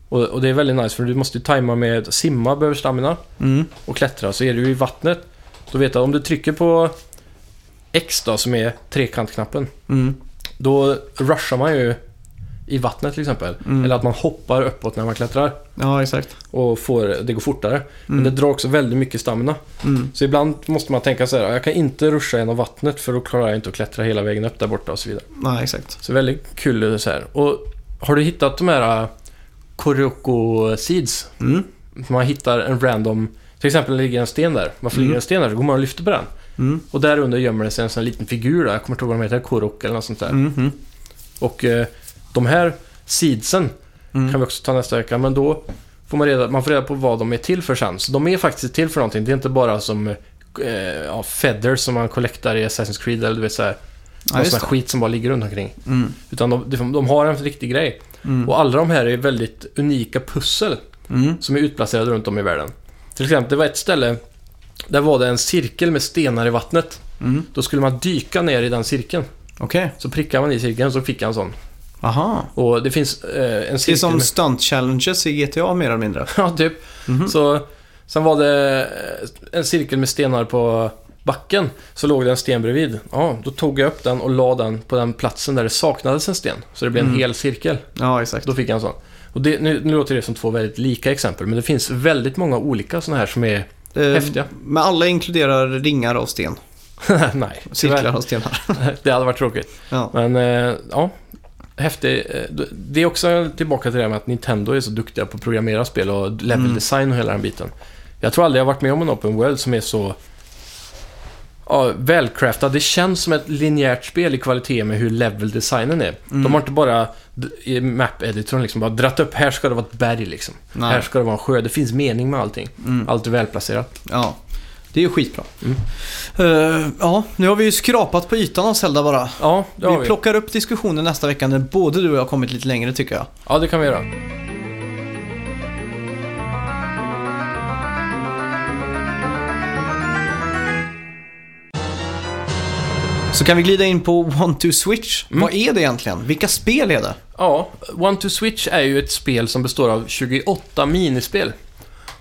S2: Och, och det är väldigt nice för du måste ju tajma med simma behöver stamina
S1: Mm.
S2: och klättra så är du i vattnet. Då vet du om du trycker på X då som är trekantknappen.
S1: Mm.
S2: Då rushar man ju i vattnet till exempel.
S1: Mm.
S2: Eller att man hoppar uppåt när man klättrar
S1: Ja, exakt.
S2: och får, det går fortare. Men
S1: Mm.
S2: det drar också väldigt mycket stamina.
S1: Mm.
S2: Så ibland måste man tänka så här, jag kan inte ruscha genom vattnet för då klarar jag inte att klättra hela vägen upp där borta och så vidare.
S1: Nej, exakt.
S2: Så väldigt kul så här. Och har du hittat de här äh, Kuroko Seeds?
S1: Mm.
S2: Man hittar en random... Till exempel ligger en sten där. Varför
S1: Mm.
S2: ligger en sten där? Så går man och lyfter på den.
S1: Mm.
S2: Och där under gömmer det sig en sån här liten figur där. Jag kommer inte ihåg vad de heter. Korok eller något sånt där.
S1: Mm. Mm.
S2: Och eh, de här seedsen kan
S1: Mm.
S2: vi också ta nästa vecka. Men då får man reda, man får reda på vad de är till för sen. Så de är faktiskt till för någonting. Det är inte bara som eh, ja, feathers som man collectar i Assassin's Creed eller du vet så här.
S1: Ja,
S2: någon sån
S1: just
S2: här
S1: det.
S2: skit som bara ligger runt omkring.
S1: Mm.
S2: Utan de, de, de har en riktig grej.
S1: Mm.
S2: Och alla de här är väldigt unika pussel
S1: Mm.
S2: som är utplacerade runt om i världen. Till exempel, det var ett ställe, där var det en cirkel med stenar i vattnet.
S1: Mm.
S2: Då skulle man dyka ner i den cirkeln.
S1: Okej.
S2: Så prickar man i cirkeln så fick jag en sån.
S1: Aha.
S2: Och det finns eh, en
S1: Det är
S2: cirkel
S1: som
S2: med...
S1: stunt challenges i GTA mer eller mindre.
S2: Ja, typ.
S1: Mhm.
S2: Så, sen var det eh, en cirkel med stenar på backen. Så låg det en sten bredvid. Ja, då tog jag upp den och la den på den platsen där det saknades en sten. Så det blev en
S1: Mm.
S2: hel cirkel.
S1: Ja, exakt.
S2: Då fick jag en sån. Och det, nu, nu låter det som två väldigt lika exempel, men det finns väldigt många olika såna här som är...
S1: Eh,
S2: Häftiga.
S1: Men alla inkluderar ringar av sten.
S2: Nej,
S1: Cirklar av stenar.
S2: tyvärr. Det hade varit tråkigt.
S1: Ja.
S2: Men, eh, ja. Häftig. eh, Det är också tillbaka till det här med att Nintendo är så duktiga på att programmera spel och level
S1: Mm.
S2: design och hela den biten. Jag tror aldrig jag har varit med om en open world som är så... Ja, välcraftad. Det känns som ett linjärt spel i kvalitet med hur level designen är.
S1: Mm.
S2: De har inte bara d- i map-editorn liksom bara dratt upp, här ska det vara ett berg liksom. Här
S1: Nej.
S2: ska det vara en sjö. Det finns mening med allting.
S1: Mm.
S2: Allt är välplacerat.
S1: Ja. Det är ju skitbra.
S2: Mm.
S1: Eh, ja, nu har vi ju skrapat på ytan av Zelda bara.
S2: Ja, det har
S1: vi
S2: vi.
S1: plockar upp diskussionen nästa vecka när både du och jag har kommit lite längre tycker jag.
S2: Ja, det kan vi göra.
S1: Så kan vi glida in på One Two Switch.
S2: Mm.
S1: Vad är det egentligen? Vilka spel är det?
S2: Ja, One to Switch är ju ett spel som består av 28 minispel.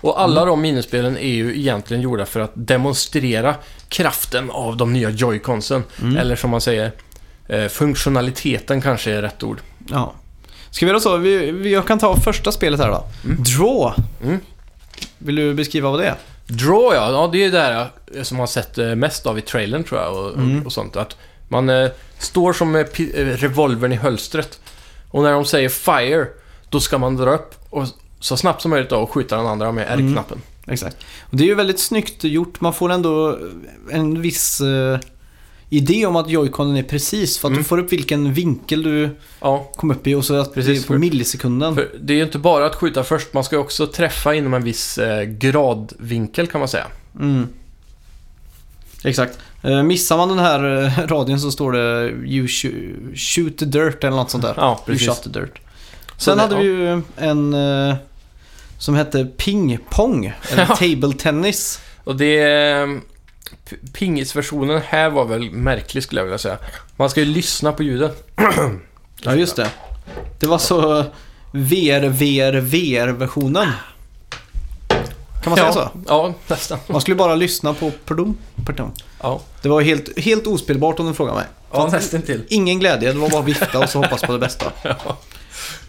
S2: Och alla de minispelen är ju egentligen gjorda för att demonstrera kraften av de nya joyconsen. Eller som man säger, eh, funktionaliteten kanske är rätt ord.
S1: Ja. Ska vi göra så? Vi, vi, jag kan ta första spelet här då. Draw.
S2: Mm.
S1: Vill du beskriva vad det är?
S2: Draw ja, ja det är ju det här eh, som man har sett eh, mest av i trailern tror jag och, och, och sånt. Att man eh, står som med pi- eh, revolvern i hölstret och när de säger fire, då ska man dra upp och så snabbt som möjligt då, och skjuta den andra med R-knappen.
S1: Exakt. Och det är ju väldigt snyggt gjort. Man får ändå en viss eh, idé om att joyconen är precis. För att
S2: Mm.
S1: du får upp vilken vinkel du
S2: Ja,
S1: kom upp i och så att
S2: Precis,
S1: det är på
S2: för-
S1: millisekunden.
S2: För det är ju inte bara att skjuta först, man ska ju också träffa inom en viss eh, gradvinkel kan man säga.
S1: Mm. Exakt. Eh, missar man den här eh, radien så står det You sho- shoot the dirt eller något sånt där.
S2: Ja,
S1: you
S2: precis.
S1: shot the dirt.
S2: Så
S1: Sen
S2: det-
S1: hade vi ju en eh, som hette ping pong, eller
S2: Ja.
S1: table tennis.
S2: Och det... eh, p- pingisversionen här var väl märklig skulle jag vilja säga. Man ska ju lyssna på ljudet.
S1: Ja, just det. Det var så VR, VR, VR-versionen. Kan man säga
S2: ja,
S1: så?
S2: Ja, nästan.
S1: Man skulle bara lyssna på pardon, pardon.
S2: Ja,
S1: Det var helt, helt ospelbart om du frågar mig.
S2: ja nästan till.
S1: Ingen glädje, det var bara vifta och så hoppas på det bästa.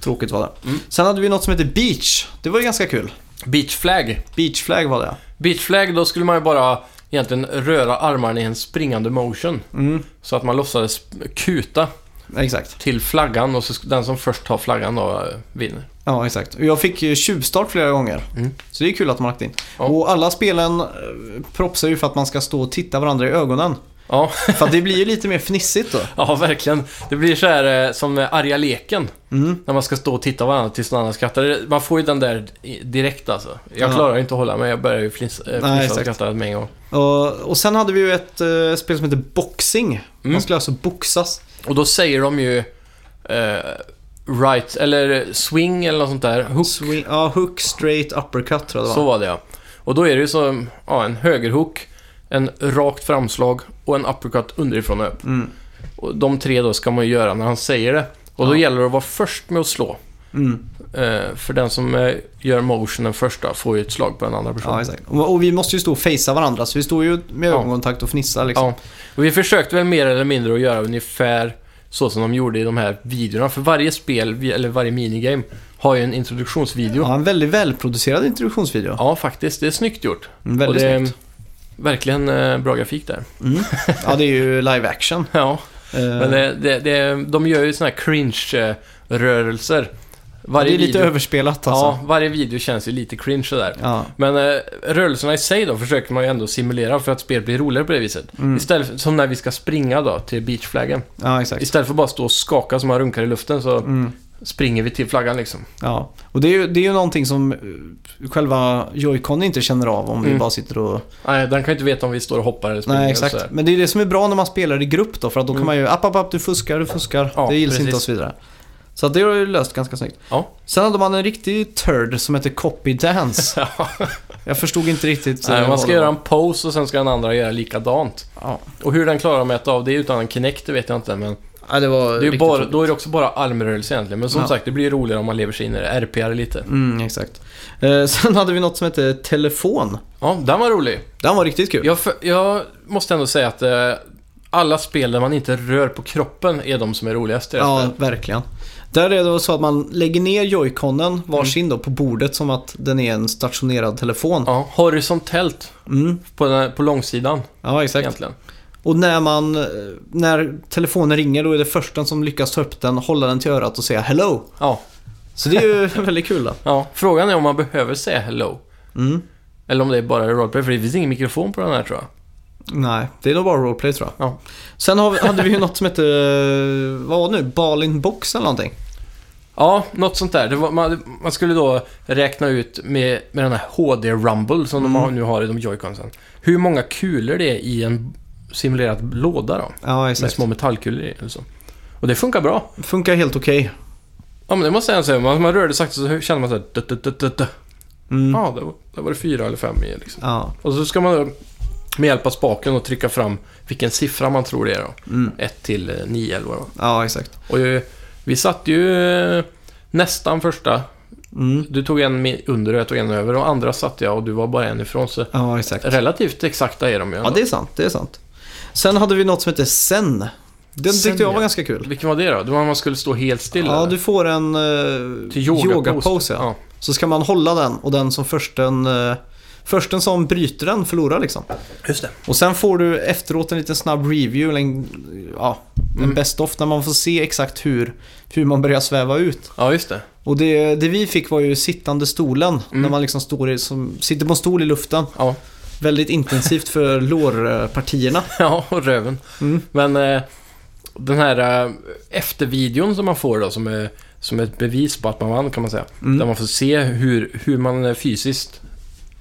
S1: Tråkigt var det. Sen hade vi något som heter Beach. Det var ju ganska kul.
S2: Beach flag.
S1: Beach flag var det.
S2: Beach flag, då skulle man ju bara egentligen röra armarna i en springande motion.
S1: Mm,
S2: Så att man låtsades sp- kuta
S1: exakt.
S2: till flaggan och så sk- den som först tar flaggan då eh, vinner.
S1: Ja, exakt. Och Jag fick ju tjuvstart flera gånger.
S2: Mm.
S1: Så det är kul att de har lagt in.
S2: Ja.
S1: Och alla spelen eh, propsar ju för att man ska stå och titta varandra i ögonen.
S2: Ja,
S1: För att det blir ju lite mer fnissigt då.
S2: ja verkligen. Det blir så här eh, som eh, arga leken.
S1: Mm.
S2: När man ska stå och titta varandra tills någon annan skrattar. Man får ju den där i- direkt alltså. Jag
S1: Ja.
S2: klarar ju inte att hålla mig. Jag börjar ju fnissa, eh,
S1: Nej,
S2: fnissa och
S1: exakt.
S2: skratta med en gång.
S1: Och, och sen hade vi ju ett eh, spel som heter Boxing.
S2: Mm.
S1: Man skulle alltså boxas.
S2: Och då säger de ju eh, right, eller swing eller något sånt där. Hook.
S1: Swing, ja, hook, straight, uppercut tror jag det var.
S2: Så var det ja. Och då är det ju som ja, en högerhook, en rakt framslag och en uppercut underifrån och upp.
S1: Mm.
S2: Och de tre då ska man ju göra när han säger det. Och då
S1: Ja.
S2: gäller det att vara först med att slå.
S1: Mm.
S2: Eh, för den som eh, gör motionen först då, får ju ett slag på den andra personen.
S1: Ja, exakt. Och, och vi måste ju stå och facea varandra, så vi står ju med
S2: Ja.
S1: ögonkontakt och fnissar liksom.
S2: Ja. Och vi försökte väl mer eller mindre att göra ungefär så som de gjorde i de här videorna. För varje spel, vi- eller varje minigame, har ju en introduktionsvideo. Ja,
S1: Ja, en väldigt välproducerad introduktionsvideo.
S2: faktiskt. Det är snyggt gjort.
S1: Mm, Väldigt
S2: Och det är
S1: snyggt.
S2: Verkligen eh, bra grafik där.
S1: Mm. Ja, det är ju live action.
S2: Ja,
S1: Eh,
S2: men det, det, det, de gör ju såna här cringe-rörelser.
S1: det är
S2: Varje
S1: lite
S2: video,
S1: överspelat alltså.
S2: Ja, varje video känns ju lite cringe sådär.
S1: Ja.
S2: Men eh, rörelserna i sig då försöker man ju ändå simulera för att spelet blir roligare på det viset.
S1: Mm.
S2: Istället för, som när vi ska springa då till beachflaggen.
S1: ja, exakt.
S2: Istället för bara stå och skaka som man runkar i luften så
S1: Mm.
S2: springer vi till flaggan liksom.
S1: Ja, och det är ju, det är ju någonting som eh, själva Joy-Con inte känner av om vi
S2: Mm.
S1: bara sitter och...
S2: Nej, den kan ju inte veta om vi står och hoppar eller springer
S1: Nej,
S2: och
S1: exakt.
S2: sådär.
S1: Men det är det som är bra när man spelar i grupp då, för att då kan
S2: Mm.
S1: man ju app, app, app, du fuskar, du fuskar,
S2: Ja,
S1: det gills
S2: precis.
S1: inte och så vidare. Så att det har ju löst ganska snyggt.
S2: Ja.
S1: Sen hade man en riktig turd som hette Copy Dance.
S2: Ja.
S1: Jag förstod inte riktigt. eh,
S2: Nej, man
S1: vad
S2: ska
S1: det
S2: göra
S1: var.
S2: en pose och sen ska den andra göra likadant.
S1: Ja.
S2: Och hur den klarar att mäta av det utan en Kinect, det vet jag inte. Men
S1: Nej, det var
S2: det är ju
S1: riktigt
S2: bara,
S1: tråkigt.
S2: då är det också bara armrörelse egentligen. Men som
S1: Ja.
S2: sagt, det blir ju roligare om man lever sig in i det. RPR lite.
S1: Mm, exakt. Eh, sen hade vi något som hette Telefon.
S2: Ja, den var rolig.
S1: Den var riktigt kul.
S2: Jag, för, jag måste ändå säga att eh, alla spel där man inte rör på kroppen är de som är roligast. i det här
S1: Ja,
S2: spelet.
S1: verkligen. Där är det så att man lägger ner joyconen varsin då på bordet som att den är en stationerad telefon.
S2: Mm. ja. Horisontellt
S1: Mm,
S2: på, den, på långsidan
S1: ja, exakt.
S2: egentligen.
S1: Och när, man, eh, när telefonen ringer då är det försten som lyckas ta upp den, hålla den till örat och säga hello.
S2: Ja,
S1: Så det är ju väldigt kul då.
S2: ja. Frågan är om man behöver säga hello.
S1: Mm.
S2: Eller om det är bara roleplay, för det finns ingen mikrofon på den här tror jag.
S1: Nej, det är nog bara roleplay tror jag.
S2: Ja.
S1: Sen har vi, hade vi ju något som hette, eh, vad var det nu, Balin Box eller någonting.
S2: Ja, något sånt där. Det var, man, man skulle då räkna ut med, med den här HD Rumble som
S1: Mm.
S2: de har- nu har i de joyconsen. Hur många kulor det är i en simulerad låda då.
S1: Ja,
S2: Med
S1: exakt.
S2: små metallkulor i. och så. Och det funkar bra.
S1: Funkar helt okej.
S2: Ja, men det måste jag säga. Man, man rörde sakta så kände man så här... Dut, dut, dut, dut.
S1: Mm.
S2: Ja, där var, där var det fyra eller fem i liksom.
S1: Ja.
S2: Och så ska man då med hjälp av spaken och trycka fram vilken siffra man tror det är då.
S1: Mm.
S2: 1 till eh, 9 eller vad det var.
S1: ja, exakt.
S2: Och eh, vi satt ju eh, nästan första.
S1: Mm.
S2: Du tog en mi- under och jag tog en över och andra satt jag och du var bara en ifrån. Så
S1: Ja, exakt.
S2: relativt exakta är de ju.
S1: Ja, det är sant. Det är sant. Sen hade vi något som hette Sen. Den
S2: Zen,
S1: tyckte jag var
S2: ja.
S1: ganska kul.
S2: Vilken var det då? Det var när man skulle stå helt still?
S1: Ja,
S2: eller?
S1: du får en uh,
S2: Till yoga,
S1: yoga-pose. ja.
S2: ja.
S1: Så ska man hålla den och den som försten, eh, försten som bryter den förlorar liksom.
S2: Just det.
S1: Och sen får du efteråt en liten snabb review, eller en, ja, en
S2: Mm.
S1: best off, när man får se exakt hur, hur man börjar sväva ut.
S2: Ja, just det.
S1: Och det, det vi fick var ju sittande stolen,
S2: Mm.
S1: när man liksom står i, som, sitter på en stol i luften.
S2: Ja,
S1: Väldigt intensivt för lårpartierna.
S2: ja och röven.
S1: Mm.
S2: Men eh, den här eh, eftervideon som man får då, som, är, som ett bevis på att man vann kan man säga.
S1: Mm.
S2: Där man får se hur, hur man är fysiskt,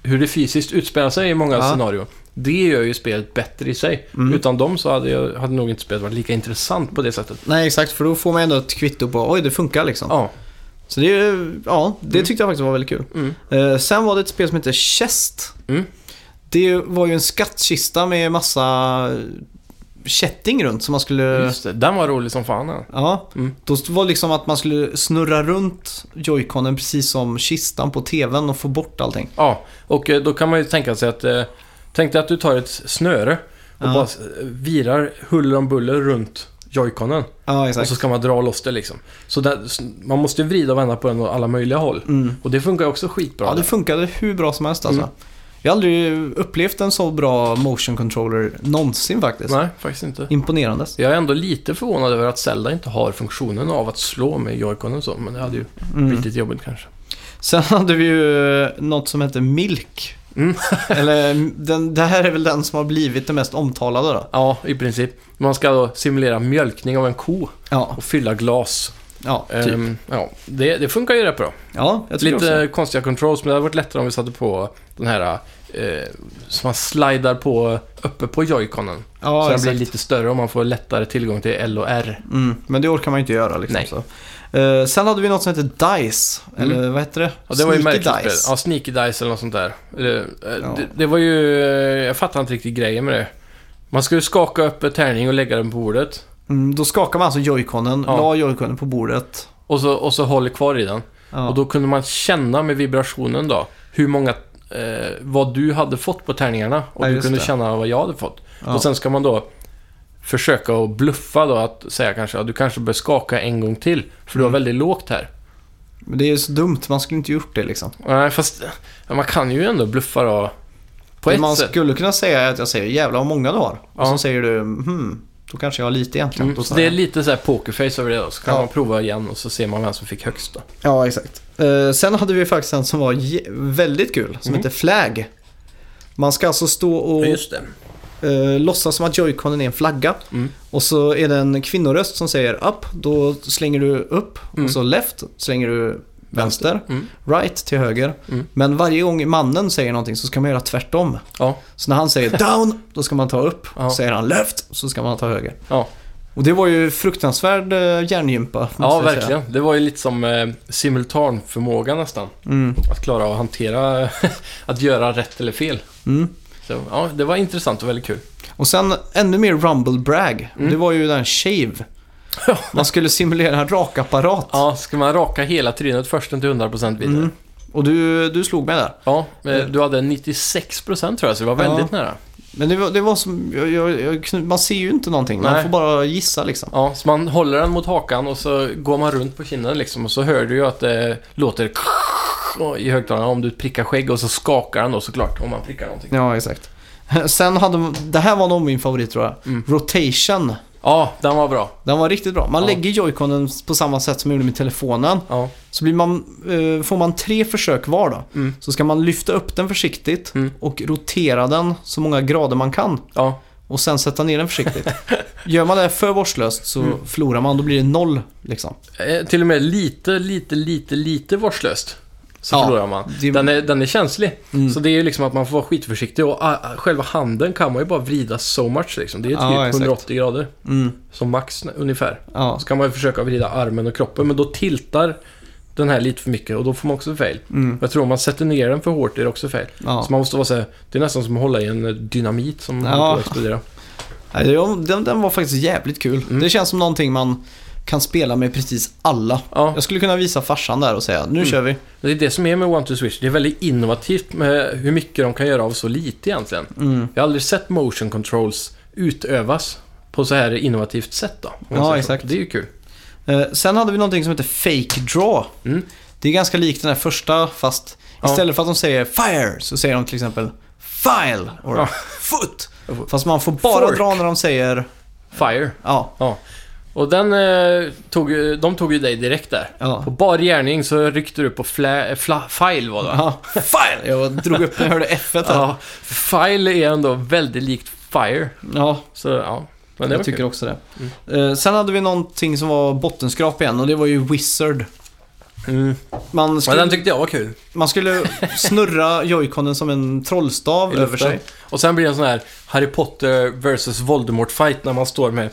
S2: hur det fysiskt utspelar sig i många
S1: Ja.
S2: scenarion. Det gör ju spelet bättre i sig.
S1: Mm.
S2: Utan dem så hade, jag, hade nog inte spelet varit lika intressant på det sättet.
S1: Nej, exakt. För då får man ändå ett kvitto på oj, det funkar liksom.
S2: Ja.
S1: Så det, är ju- ja, det tyckte jag faktiskt var väldigt kul.
S2: Mm.
S1: Eh, sen var det ett spel som heter Chest.
S2: Mm.
S1: Det var ju en skattkista med massa kätting runt som man skulle...
S2: Just det, den var rolig som fan. ja.
S1: Ja,
S2: Mm.
S1: då var det liksom att man skulle snurra runt joyconen precis som kistan på tvn och få bort allting.
S2: Ja, och eh, då kan man ju tänka sig att... eh, Tänk dig att du tar ett snöre och
S1: Ja.
S2: bara eh, virar huller om buller runt joyconen.
S1: Ja,
S2: Och
S1: exakt.
S2: så ska man dra loss det liksom. Så där, s- man måste ju vrida och vända på den åt alla möjliga håll.
S1: Mm.
S2: Och det funkar ju också skitbra.
S1: Ja, det funkade hur bra som helst alltså.
S2: Mm.
S1: Jag har aldrig upplevt en så bra motion controller någonsin faktiskt.
S2: Nej, faktiskt inte.
S1: Imponerande.
S2: Jag är ändå lite förvånad över att Zelda inte har funktionen av att slå med joyconen och så, men det hade ju
S1: Mm.
S2: blivit lite jobbigt kanske.
S1: Sen hade vi ju eh, något som hette Milk.
S2: Mm.
S1: Eller den, det här är väl den som har blivit det mest omtalade då.
S2: Ja, i princip. Man ska då simulera mjölkning av en ko
S1: Ja,
S2: och fylla glas.
S1: ja typ.
S2: Ehm, ja, det, det funkar ju rätt bra.
S1: ja, jag tycker
S2: Lite
S1: också.
S2: konstiga controls, men det hade varit lättare om vi satte på den här eh, som man slidar på uppe på joyconen. så
S1: Ja,
S2: den blir
S1: exakt.
S2: lite större och man får lättare tillgång till L och R.
S1: Mm, men det orkar man ju inte göra liksom.
S2: Nej.
S1: Så. Eh, sen hade vi något som hette Dice. Eller vad hette det?
S2: Mm. Ja, det var ju
S1: Sneaky
S2: märkligt spel.
S1: Dice.
S2: Ja, Sneaky Dice eller något sånt där. Eller, eh,
S1: Ja.
S2: det, det var ju... eh, Jag fattar inte riktigt grejen med det. Man skulle skaka upp en tärning och lägga den på bordet.
S1: Mm, då skakade man alltså joyconen,
S2: Ja.
S1: la joyconen på bordet.
S2: Och så, och så håller kvar i den.
S1: Ja.
S2: Och då kunde man känna med vibrationen då hur många... Eh, vad du hade fått på tärningarna. Och
S1: Ja,
S2: du
S1: just
S2: kunde
S1: det.
S2: känna vad jag hade fått.
S1: Ja.
S2: Och sen ska man då försöka att bluffa då att säga kanske att du kanske bör skaka en gång till. För du har
S1: Mm.
S2: väldigt lågt här.
S1: Men det är ju så dumt, man skulle inte gjort det liksom.
S2: Nej, fast ja, man kan ju ändå bluffa då. På
S1: det
S2: ett
S1: man
S2: sätt.
S1: skulle kunna säga är att jag säger jävlar vad många du har. Och
S2: Ja.
S1: så säger du hmm, då kanske jag har lite egentligen.
S2: Mm,
S1: Då
S2: så
S1: tar
S2: det är
S1: jag.
S2: lite så här pokerface över det då. Så kan
S1: Ja.
S2: man prova igen och så ser man vem som fick högst då.
S1: Ja, exakt. Eh, sen hade vi faktiskt en som var je- väldigt kul,
S2: Mhm.
S1: som heter Flag. Man ska alltså stå och
S2: det.
S1: eh, låtsas som att joyconen är en flagga.
S2: Mm.
S1: Och så är det en kvinnoröst som säger upp, då slänger du upp.
S2: Mm.
S1: Och så left, slänger du vänster.
S2: Mm.
S1: Right till höger.
S2: Mm.
S1: Men varje gång mannen säger någonting så ska man göra tvärtom.
S2: Ja.
S1: Så när han säger down, då ska man ta upp.
S2: Ja.
S1: Säger han left, så ska man ta höger.
S2: Ja,
S1: Och det var ju fruktansvärd eh, hjärngympa. måste
S2: ja
S1: jag säga.
S2: verkligen. Det var ju lite som eh, simultanförmåga nästan.
S1: Mm.
S2: Att klara att hantera, att göra rätt eller fel.
S1: Mm.
S2: Så, ja, det var intressant och väldigt kul.
S1: Och sen ännu mer rumble brag.
S2: Mm.
S1: Det var ju den shave. Man skulle simulera en rakapparat.
S2: Ja, ska man raka hela trynet först till 100% vidare?
S1: Mm. Och du, du slog mig där.
S2: Ja, eh, du hade 96% tror jag, så det var väldigt nära.
S1: Men det var, det var som, jag, jag, jag, knu- man ser ju inte någonting. Man
S2: Nej.
S1: får bara gissa liksom.
S2: Ja, så man håller den mot hakan och så går man runt på kinden liksom och så hör du ju att det låter i högtalarna om du prickar skägg och så skakar den då såklart om man prickar någonting.
S1: Ja, exakt. Sen hade, det här var nog min favorit tror jag.
S2: Mm.
S1: Rotation.
S2: Ja, den var bra.
S1: Den var riktigt bra. Man
S2: Ja.
S1: lägger joyconen på samma sätt som jag gjorde med telefonen.
S2: Ja,
S1: Så blir man, eh, får man tre försök var då.
S2: Mm.
S1: Så ska man lyfta upp den försiktigt
S2: Mm.
S1: och rotera den så många grader man kan.
S2: ja,
S1: Och sen sätta ner den försiktigt. Gör man det för vårdslöst så
S2: Mm.
S1: förlorar man. Då blir det noll liksom.
S2: eh, till och med lite, lite, lite, lite vårdslöst. Så
S1: Ja,
S2: förlorar man.
S1: det-
S2: Den är, den är känslig.
S1: Mm.
S2: Så det är ju liksom att man får vara skitförsiktig och ah, ah, själva handen kan man ju bara vrida so much liksom. Det är typ
S1: Ja, exakt.
S2: 180 grader
S1: Mm.
S2: som max nä- ungefär.
S1: Ja.
S2: Så kan man ju försöka vrida armen och kroppen, men då tiltar den här lite för mycket och då får man också fail.
S1: Mm.
S2: Jag tror om man sätter ner den för hårt är det också fel.
S1: Ja.
S2: Så man måste vara så här, det är nästan som att hålla i en eh, dynamit som håller på
S1: Ja.
S2: att explodera.
S1: Nej, det- Den, den var faktiskt jävligt kul.
S2: Mm.
S1: Det känns som någonting man kan spela med precis alla.
S2: Ja, Mm.
S1: Jag skulle kunna visa farsan där och säga, nu kör vi.
S2: det är det som är med One to Switch. Det är väldigt innovativt med hur mycket de kan göra av så lite egentligen.
S1: Mm.
S2: Jag har aldrig sett motion controls utövas på så här innovativt sätt då. om man
S1: Ja,
S2: säger så.
S1: exakt.
S2: Det är ju kul.
S1: Eh, sen hade vi någonting som heter Fake Draw.
S2: Mm.
S1: Det är ganska likt den här första fast
S2: Ja.
S1: istället för att de säger Fire så säger de till exempel File or
S2: Ja.
S1: Foot. Fast man får bara
S2: Fork.
S1: dra när de säger
S2: Fire.
S1: ja.
S2: Ja. Och den eh, tog, ju- de tog ju dig direkt där.
S1: Ja.
S2: På bar gärning så ryckte du upp på fla, eh, fla, file var det va?
S1: ja. File! Jag drog upp när jag hörde F där. Ja,
S2: Ja, file är ändå väldigt likt fire. Så ja, men det var
S1: jag
S2: kul. Mm.
S1: tycker också det. Eh, sen hade vi någonting som var bottenskrap igen och det var ju Wizard.
S2: Mm.
S1: Man
S2: Men
S1: skulle,
S2: den tyckte jag var kul.
S1: man skulle snurra joyconen som en trollstav
S2: I
S1: över
S2: luften.
S1: sig.
S2: Och sen blir det en sån här Harry Potter vs Voldemort-fight när man står med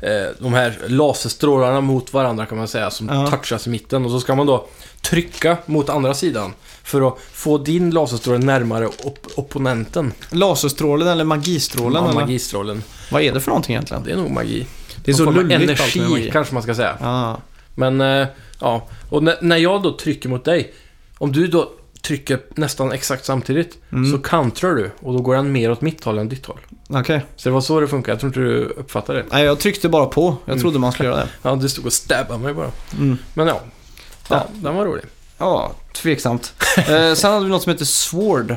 S2: eh, de här laserstrålarna mot varandra kan man säga, som
S1: Ja.
S2: touchas i mitten. Och så ska man då trycka mot andra sidan för att få din laserstråle närmare op- opponenten.
S1: Laserstrålen eller magistrålen?
S2: Ja,
S1: eller?
S2: magistrålen.
S1: Vad är det för någonting egentligen?
S2: Det är nog magi.
S1: Det är
S2: Någon
S1: så
S2: form av
S1: lulligt allt med
S2: Energi
S1: magi.
S2: kanske man ska säga.
S1: Ah.
S2: Men, eh, ja. Och när- när jag då trycker mot dig, om du då trycker nästan exakt samtidigt, så countrar du och då går den mer åt mitt håll än ditt håll.
S1: Okej.
S2: Så det var så det funkar. Jag tror inte du uppfattade det.
S1: Nej, jag tryckte bara på.
S2: Mm.
S1: Jag trodde man skulle göra det.
S2: Ja, du stod och stabbade mig bara.
S1: Mm.
S2: Men ja,
S1: Ja.
S2: ja. den var rolig.
S1: Ja, tveksamt. eh, sen hade vi något som heter Sword.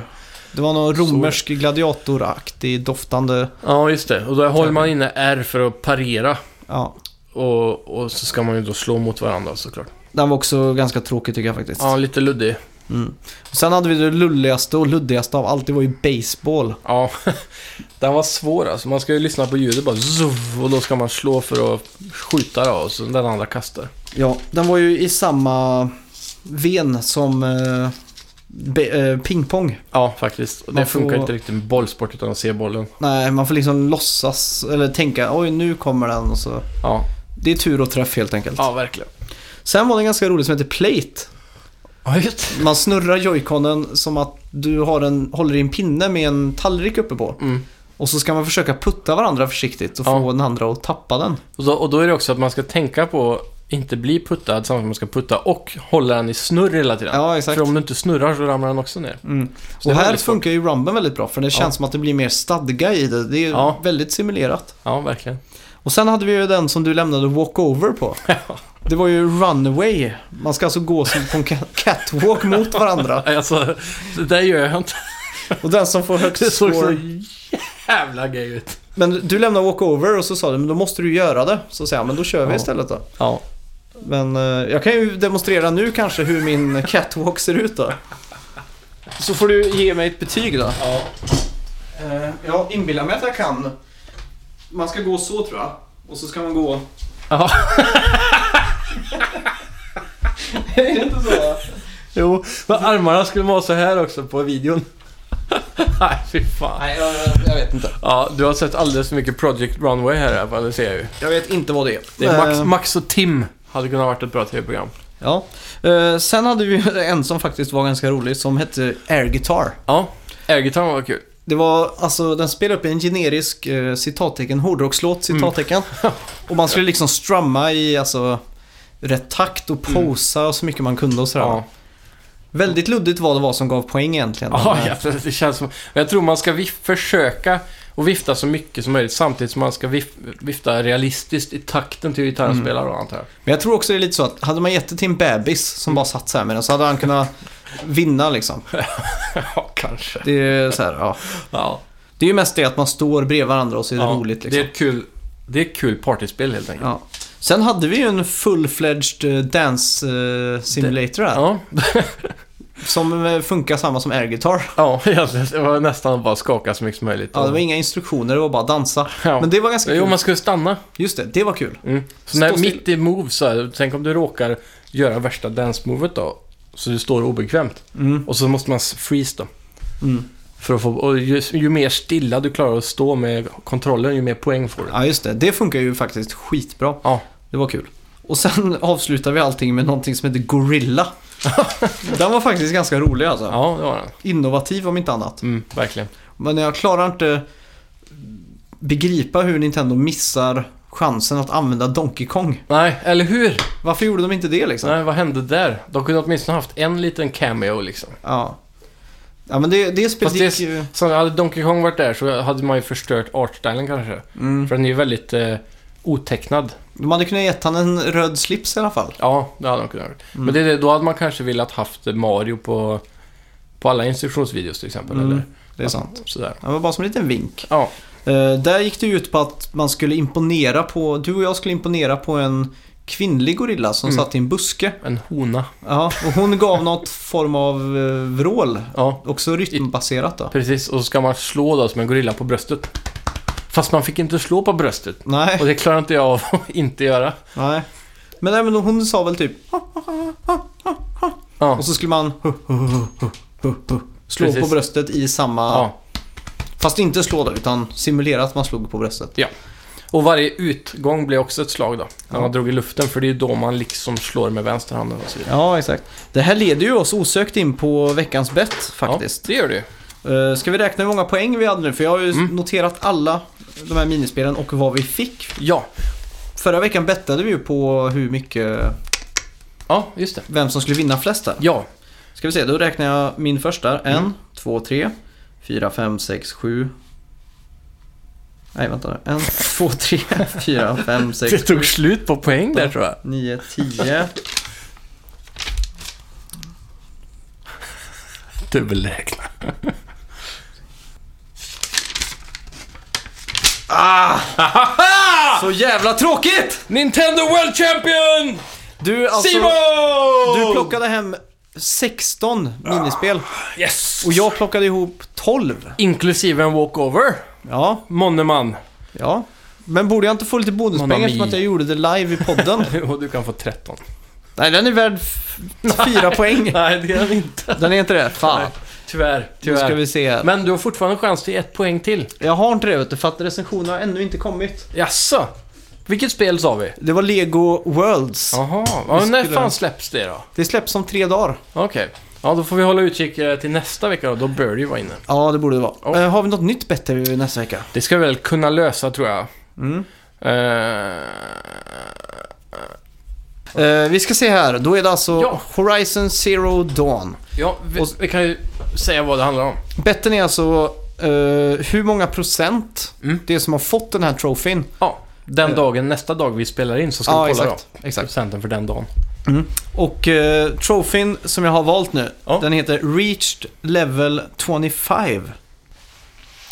S1: Det var någon
S2: Sword.
S1: romersk gladiatoraktig doftande...
S2: Ja, just det. Och då håller man inne R för att parera.
S1: Ja.
S2: Och, och så ska man ju då slå mot varandra såklart.
S1: Den var också ganska tråkig tycker jag faktiskt.
S2: Ja, lite luddig.
S1: Sen hade vi det lulligaste och luddigaste av allt. Det var ju baseball.
S2: Ja, den var svår alltså. Man ska ju lyssna på ljudet bara zuv, och då ska man slå för att skjuta då, och så den andra kastar.
S1: Ja, den var ju i samma ven som eh, be, eh, pingpong.
S2: Ja, faktiskt. Och det
S1: Man får-
S2: funkar inte riktigt med bollsport utan att se bollen.
S1: Nej, man får liksom låtsas eller tänka oj nu kommer den och så.
S2: Ja,
S1: Det är tur och träff helt enkelt.
S2: ja verkligen.
S1: Sen var det en ganska rolig som heter Plate.
S2: Ja, just
S1: Man snurrar joyconen som att du har en, håller i en pinne med en tallrik uppe på.
S2: mm.
S1: Och så ska man försöka putta varandra försiktigt och
S2: Ja.
S1: få den andra att tappa den.
S2: och, då, och då är det också att man ska tänka på att inte bli puttad samtidigt som man ska putta och hålla den i snurr hela tiden.
S1: Ja, exakt.
S2: För om du inte snurrar så ramlar den också ner.
S1: Mm.
S2: Så
S1: Och
S2: det var
S1: här
S2: väldigt svårt.
S1: funkar ju rumben väldigt bra för det känns som att det blir mer stadga i det. Det är
S2: Ja.
S1: väldigt simulerat.
S2: Ja, verkligen.
S1: Och sen hade vi ju den som du lämnade walkover på. Det var ju runaway. Man ska alltså gå som på en ca- catwalk mot varandra.
S2: Nej, Alltså, det där gör jag inte.
S1: Och den som får
S2: Det
S1: högst
S2: såg så
S1: score.
S2: jävla gay ut.
S1: Men du lämnade walkover och så sa du men då måste du göra det. Så säger jag men då kör vi
S2: Ja.
S1: istället då.
S2: Ja.
S1: Men eh, jag kan ju demonstrera nu kanske hur min catwalk ser ut då. Så får du ge mig ett betyg då.
S2: ja.
S1: Eh, Jag inbillar mig att jag kan. Man ska gå så tror jag. Och så ska man gå...
S2: Ja.
S1: Är det inte så?
S2: Jo, men armarna skulle vara så här också på videon. Nej, fy fan.
S1: Nej, jag, jag vet inte.
S2: Ja, du har sett alldeles för mycket Project Runway här i alla fall, det ser jag ju.
S1: Jag vet inte vad det är.
S2: Det är Max,
S1: Eh,
S2: Max och Tim hade kunnat varit ett bra tv-program.
S1: Ja. Eh, sen hade vi ju en som faktiskt var ganska rolig som hette Air Guitar.
S2: Ja, airgitarren var kul.
S1: Det var alltså, den spelade upp en generisk eh, citattecken, hårdrockslåt
S2: Mm.
S1: citattecken. och man skulle liksom strumma i alltså rätt takt och posa och så mycket man kunde och sådär.
S2: Mm. Ja,
S1: Väldigt luddigt vad det var som gav poäng egentligen.
S2: ja
S1: Men, eh,
S2: jävlar, det känns som... Jag tror man ska vif- försöka och vifta så mycket som möjligt samtidigt som man ska vif- vifta realistiskt i takten till gitarren spelar då, antar jag.
S1: Men jag tror också det är lite så att hade man gett det till en bebis som bara satt så här med den så hade han kunnat vinna liksom.
S2: Ja, kanske.
S1: Det är så här, ja.
S2: Ja.
S1: Det är ju mest det att man står bredvid varandra och så är det
S2: Ja,
S1: roligt liksom.
S2: Det är ett kul, det är ett kul partyspel helt enkelt.
S1: Ja. Sen hade vi ju en full-fledged eh, dance eh, simulator här.
S2: Ja,
S1: Som eh, funkar samma som air guitar.
S2: ja egentligen. Det var nästan bara skaka så mycket som möjligt.
S1: Ja, det var inga instruktioner, det var bara dansa.
S2: Ja.
S1: Men det var ganska
S2: Jo,
S1: kul.
S2: man skulle stanna.
S1: Just det, det var kul.
S2: Mm. Så när,
S1: Stå still.
S2: mitt i move så här, tänk om du råkar göra värsta dance-movet då. Så du står obekvämt.
S1: Mm.
S2: Och så måste man s- freeze då.
S1: Mm.
S2: För att få, och ju, ju mer stilla du klarar att stå med kontrollen, ju mer poäng får du.
S1: Ja, just det. Det funkar ju faktiskt skitbra.
S2: Ja.
S1: Det var kul. Och sen avslutar vi allting med någonting som heter Gorilla. Den var faktiskt ganska rolig alltså.
S2: Ja, det var den.
S1: Innovativ om inte annat.
S2: Mm, verkligen.
S1: Men jag klarar inte begripa hur Nintendo missar chansen att använda Donkey Kong.
S2: Nej, eller hur?
S1: Varför gjorde de inte det liksom?
S2: Nej, vad hände där? De kunde åtminstone haft en liten cameo liksom.
S1: Ja. Ja men det, det spelet
S2: Fast det-
S1: gick ju...
S2: Så hade Donkey Kong varit där så hade man ju förstört artstylen kanske.
S1: Mm.
S2: För den är ju väldigt eh, otecknad.
S1: De hade kunnat gett han en röd slips i alla fall.
S2: Ja, det hade de kunnat göra. Men det, är det- då hade man kanske velat haft Mario på, på alla instruktionsvideos till exempel.
S1: Mm,
S2: eller
S1: Det är sant.
S2: Sådär.
S1: Det var bara som en liten vink.
S2: Ja,
S1: Eh, där gick det ju ut på att man skulle imponera på... Du och jag skulle imponera på en kvinnlig gorilla som
S2: Mm.
S1: satt i en buske.
S2: en hona.
S1: Ja, och hon gav något form av eh, vrål.
S2: Ja,
S1: Också rytmbaserat då.
S2: precis. Och så ska man slå då som en gorilla på bröstet. Fast man fick inte slå på bröstet.
S1: Nej,
S2: Och det klarar inte jag av att inte göra.
S1: nej. Men även hon sa väl typ...
S2: Ja,
S1: Och så skulle man... Slå på
S2: Precis.
S1: bröstet i samma...
S2: ja.
S1: Fast inte slå då, utan simulera att man slog på bröstet.
S2: Ja. Och varje utgång blir också ett slag då. När man drog i luften, för det är ju då man liksom slår med vänsterhanden och så vidare.
S1: Ja, exakt. Det här leder ju oss osökt in på veckans bett faktiskt.
S2: Ja, det gör det ju.
S1: Eh, Ska vi räkna hur många poäng vi hade nu? För jag har ju
S2: Mm.
S1: noterat alla de här minispelen och vad vi fick.
S2: Ja.
S1: Förra veckan bettade vi ju på hur mycket,
S2: ja, just det.
S1: vem som skulle vinna flest här.
S2: Ja,
S1: Ska vi se, då räknar jag min första.
S2: Mm.
S1: En, två, tre, fyra, fem, sex, sju. Nej, vänta nu. En, två, tre, fyra, fem,
S2: det
S1: sex, sju,
S2: tog slut på poäng där tror jag.
S1: nio, tio.
S2: Dubbelräkna. Ah!
S1: Så jävla tråkigt!
S2: Nintendo World Champion!
S1: Du, alltså,
S2: Simon!
S1: du plockade hem 16
S2: Ah!
S1: minispel
S2: Yes!
S1: och jag plockade ihop 12.
S2: Inklusive en walkover.
S1: Ja,
S2: Monneman.
S1: ja. Men borde jag inte få lite
S2: Mamma
S1: bonuspengar
S2: mia.
S1: eftersom att jag gjorde det live i podden?
S2: Och du kan få 13.
S1: Nej, den är värd f- fyra poäng.
S2: Nej, det är inte.
S1: Den är inte det? Fan.
S2: Nej, Tyvärr,
S1: Nu ska
S2: tyvärr.
S1: vi se.
S2: Men du har fortfarande chans till ett poäng till.
S1: Jag har inte det vet du, för att recensionen har ännu inte kommit.
S2: Jaså? Vilket spel sa vi?
S1: Det var Lego Worlds.
S2: Jaha, ja, när
S1: skulle-
S2: fan släpps det då?
S1: Det släpps om tre dagar.
S2: Okej. Ja, då får vi hålla utkik eh, till nästa vecka då. Då bör det ju vara inne.
S1: Ja, det borde det vara.
S2: Ja.
S1: Eh, har vi något nytt bättre nästa vecka?
S2: Det ska vi väl kunna lösa tror jag.
S1: Mm.
S2: Eh,
S1: Eh, vi ska se här, då är det alltså
S2: Ja.
S1: Horizon Zero Dawn.
S2: ja, vi,
S1: Och-
S2: vi kan ju säga vad det handlar om.
S1: Betten är alltså eh, hur många procent
S2: Mm.
S1: det är som har fått den här trofin.
S2: Ja, den
S1: Eh.
S2: dagen, nästa dag vi spelar in så ska vi kolla
S1: exakt.
S2: då.
S1: exakt.
S2: Procenten för den dagen.
S1: Och uh, trofin som jag har valt nu,
S2: Ja.
S1: den heter Reached Level 25.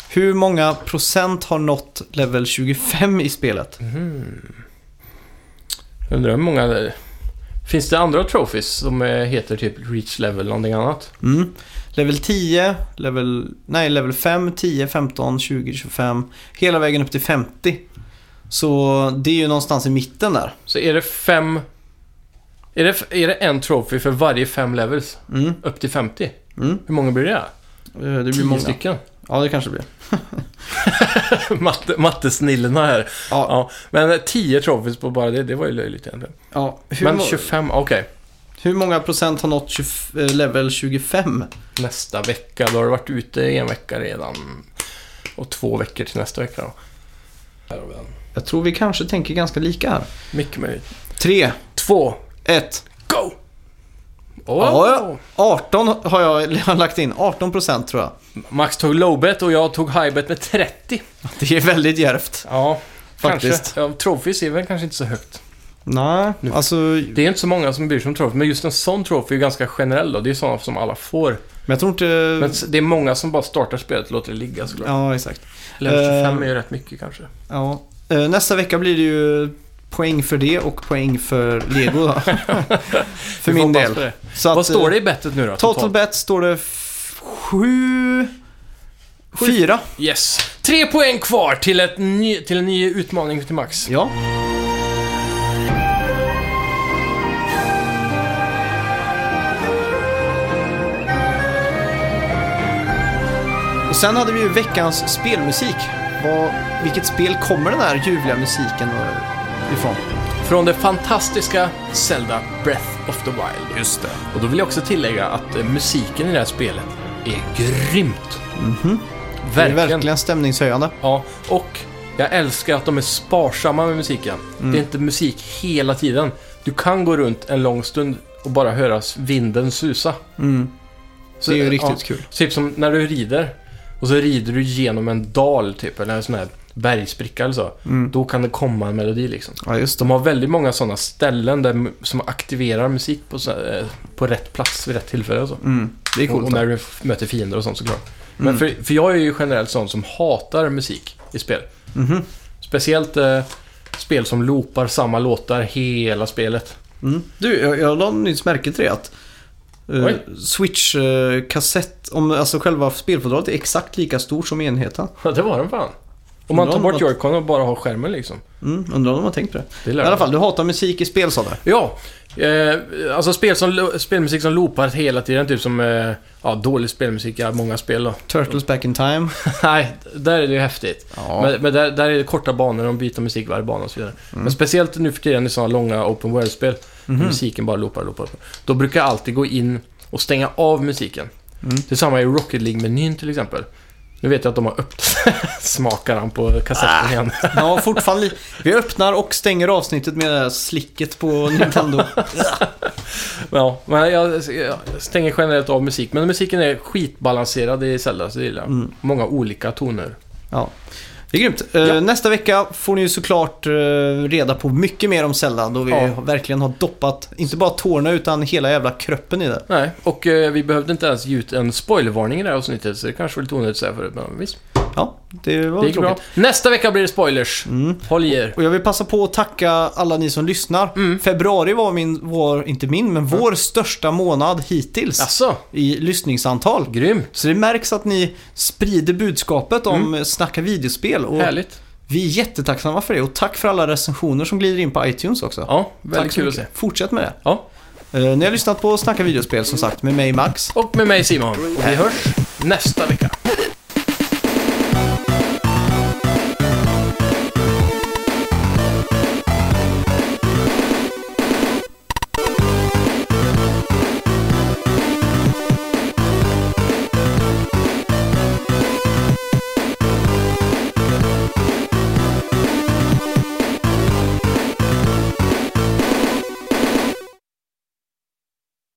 S1: Hur många procent har nått level 25 i spelet?
S2: Undrar hur många... det- Finns det andra trophies som eh, heter typ Reach Level någonting annat?
S1: Mm. Level 10, level, nej, level 5, 10, 15, 20, 25. Hela vägen upp till 50. Så det är ju någonstans i mitten där.
S2: Så är det fem... Är det, f- är det en trophy för varje fem levels?
S1: Mm.
S2: Upp till 50?
S1: Mm.
S2: Hur många blir det?
S1: Eh, Det blir
S2: Tio
S1: många.
S2: stycken.
S1: Ja, det kanske det blir.
S2: Matte, mattesnillena här.
S1: Ja,
S2: Ja, men eh, 10 trophies på bara det, det var ju löjligt egentligen.
S1: ja. Hur,
S2: Men
S1: må-
S2: 25, okej.
S1: hur många procent har nått 20, eh, level 25?
S2: Nästa vecka, då har du varit ute i en vecka redan. Och två veckor till nästa vecka då. Här har vi den.
S1: Jag tror vi kanske tänker ganska lika här.
S2: Mycket möjligt.
S1: 3,
S2: Två,
S1: 1.
S2: go! Oh.
S1: Ja, 18 har jag lagt in. 18 procent tror jag.
S2: Max tog lowbet och jag tog highbet med 30.
S1: Det är väldigt djärvt.
S2: Ja,
S1: Faktiskt.
S2: Kanske. Ja, trophies är väl kanske inte så högt.
S1: Nej, alltså
S2: Det är inte så många som bryr sig om trophy, men just en sån trophy är ju ganska generell då. Det är sådana som alla får.
S1: Men jag tror inte...
S2: Men det är många som bara startar spelet och låter det ligga såklart.
S1: Ja, exakt.
S2: Eller 25
S1: eh,
S2: är ju rätt mycket kanske.
S1: Ja. Eh, Nästa vecka blir det ju poäng för det och poäng för Lego då. för
S2: Vi får
S1: min
S2: hoppas
S1: del. eh,
S2: på det.
S1: Så
S2: Vad står det i bettet nu då?
S1: Total bet står det f- sju... Fyra.
S2: Yes. Tre poäng kvar till, ett ny, till en ny utmaning till Max.
S1: Ja. Och sen hade vi ju veckans spelmusik. Vad, vilket spel kommer den här ljuvliga musiken eh, ifrån?
S2: Från det fantastiska Zelda Breath of the Wild.
S1: Just det.
S2: Och då vill jag också tillägga att eh, musiken i det här spelet är grymt.
S1: Mhm. Det är
S2: Verkligen.
S1: verkligen stämningshöjande.
S2: Ja, och jag älskar att de är sparsamma med musiken.
S1: Mm.
S2: Det är inte musik hela tiden. Du kan gå runt en lång stund och bara höra vinden susa. Så,
S1: Mm. det är ju riktigt
S2: ja.
S1: kul.
S2: Typ som när du rider. Och så rider du genom en dal typ, eller en sån här bergspricka eller så.
S1: Mm.
S2: Då kan det komma en melodi liksom.
S1: Ja, just det.
S2: De har väldigt många sådana ställen där, mu- som aktiverar musik på, så- eh, på rätt plats vid rätt tillfälle och så.
S1: Mm. Det är
S2: Och,
S1: coolt. Mm.
S2: och när du f- möter fiender och sånt såklart. Men för, för jag är ju generellt sån som hatar musik i spel.
S1: Mhm.
S2: Speciellt eh, spel som loopar samma låtar hela spelet.
S1: Mm. Du, jag, jag la nyss märke till det att eh,
S2: Oj.
S1: Switch eh, kassett, om, alltså själva spelfodralet är exakt lika stort som enheten.
S2: Ja, det var den fan. Om man
S1: Undrar
S2: tar
S1: om
S2: bort
S1: de har-
S2: joycon och bara har skärmen liksom.
S1: Mm, undrar om de har tänkt på det.
S2: Det
S1: I
S2: lär
S1: alla
S2: jag.
S1: fall, du hatar musik i spel sa du.
S2: Ja, eh, alltså spel som, lo- spelmusik som loopar hela tiden, typ som eh, ja, dålig spelmusik i många spel då.
S1: Turtles Back in Time.
S2: Nej, där är det ju häftigt. Men, men där, där är det korta banor, de byter musik varje bana och så vidare.
S1: Mm.
S2: Men speciellt nu för tiden i sådana långa open world-spel, där
S1: Mhm.
S2: musiken bara loopar, loopar, loopar. Då brukar jag alltid gå in och stänga av musiken.
S1: Mm.
S2: Det är samma i Rocket League-menyn till exempel. Nu vet jag att de har öppnat smakaren på
S1: Ah.
S2: kassetten igen.
S1: Ja, fortfarande. li- Vi öppnar och stänger avsnittet med det här slicket på Nintendo.
S2: Ja, men jag, jag stänger generellt av musik. Men musiken är skitbalanserad i Zelda, så det gillar jag.
S1: Mm.
S2: Många olika toner.
S1: Ja. Det är grymt. Eh,
S2: Ja.
S1: Nästa vecka får ni ju såklart eh, reda på mycket mer om Zelda då vi
S2: Ja.
S1: verkligen har doppat, inte bara tårna utan hela jävla kroppen i det.
S2: Nej, och eh, vi behövde inte ens ge ut en spoilervarning i det här avsnittet, så det kanske var lite onödigt att säga förut, men visst.
S1: Ja, det var
S2: Det gick bra.
S1: tråkigt.
S2: Nästa vecka blir det spoilers.
S1: Mm.
S2: Håll i er.
S1: Och jag vill passa på att tacka alla ni som lyssnar.
S2: Mm.
S1: Februari var min, var, inte min, men vår största månad hittills
S2: Alltså,
S1: i lyssningsantal.
S2: grym.
S1: Så det märks att ni sprider budskapet om mm. Snacka videospel. Och
S2: Härligt.
S1: Vi är jättetacksamma för det och tack för alla recensioner som glider in på iTunes också.
S2: Ja, väldigt
S1: tack så
S2: kul att
S1: mycket.
S2: se.
S1: Fortsätt med det.
S2: Ja.
S1: Eh, ni har lyssnat på Snacka videospel som sagt med mig Max.
S2: Och med mig Simon. Och vi hörs nästa vecka.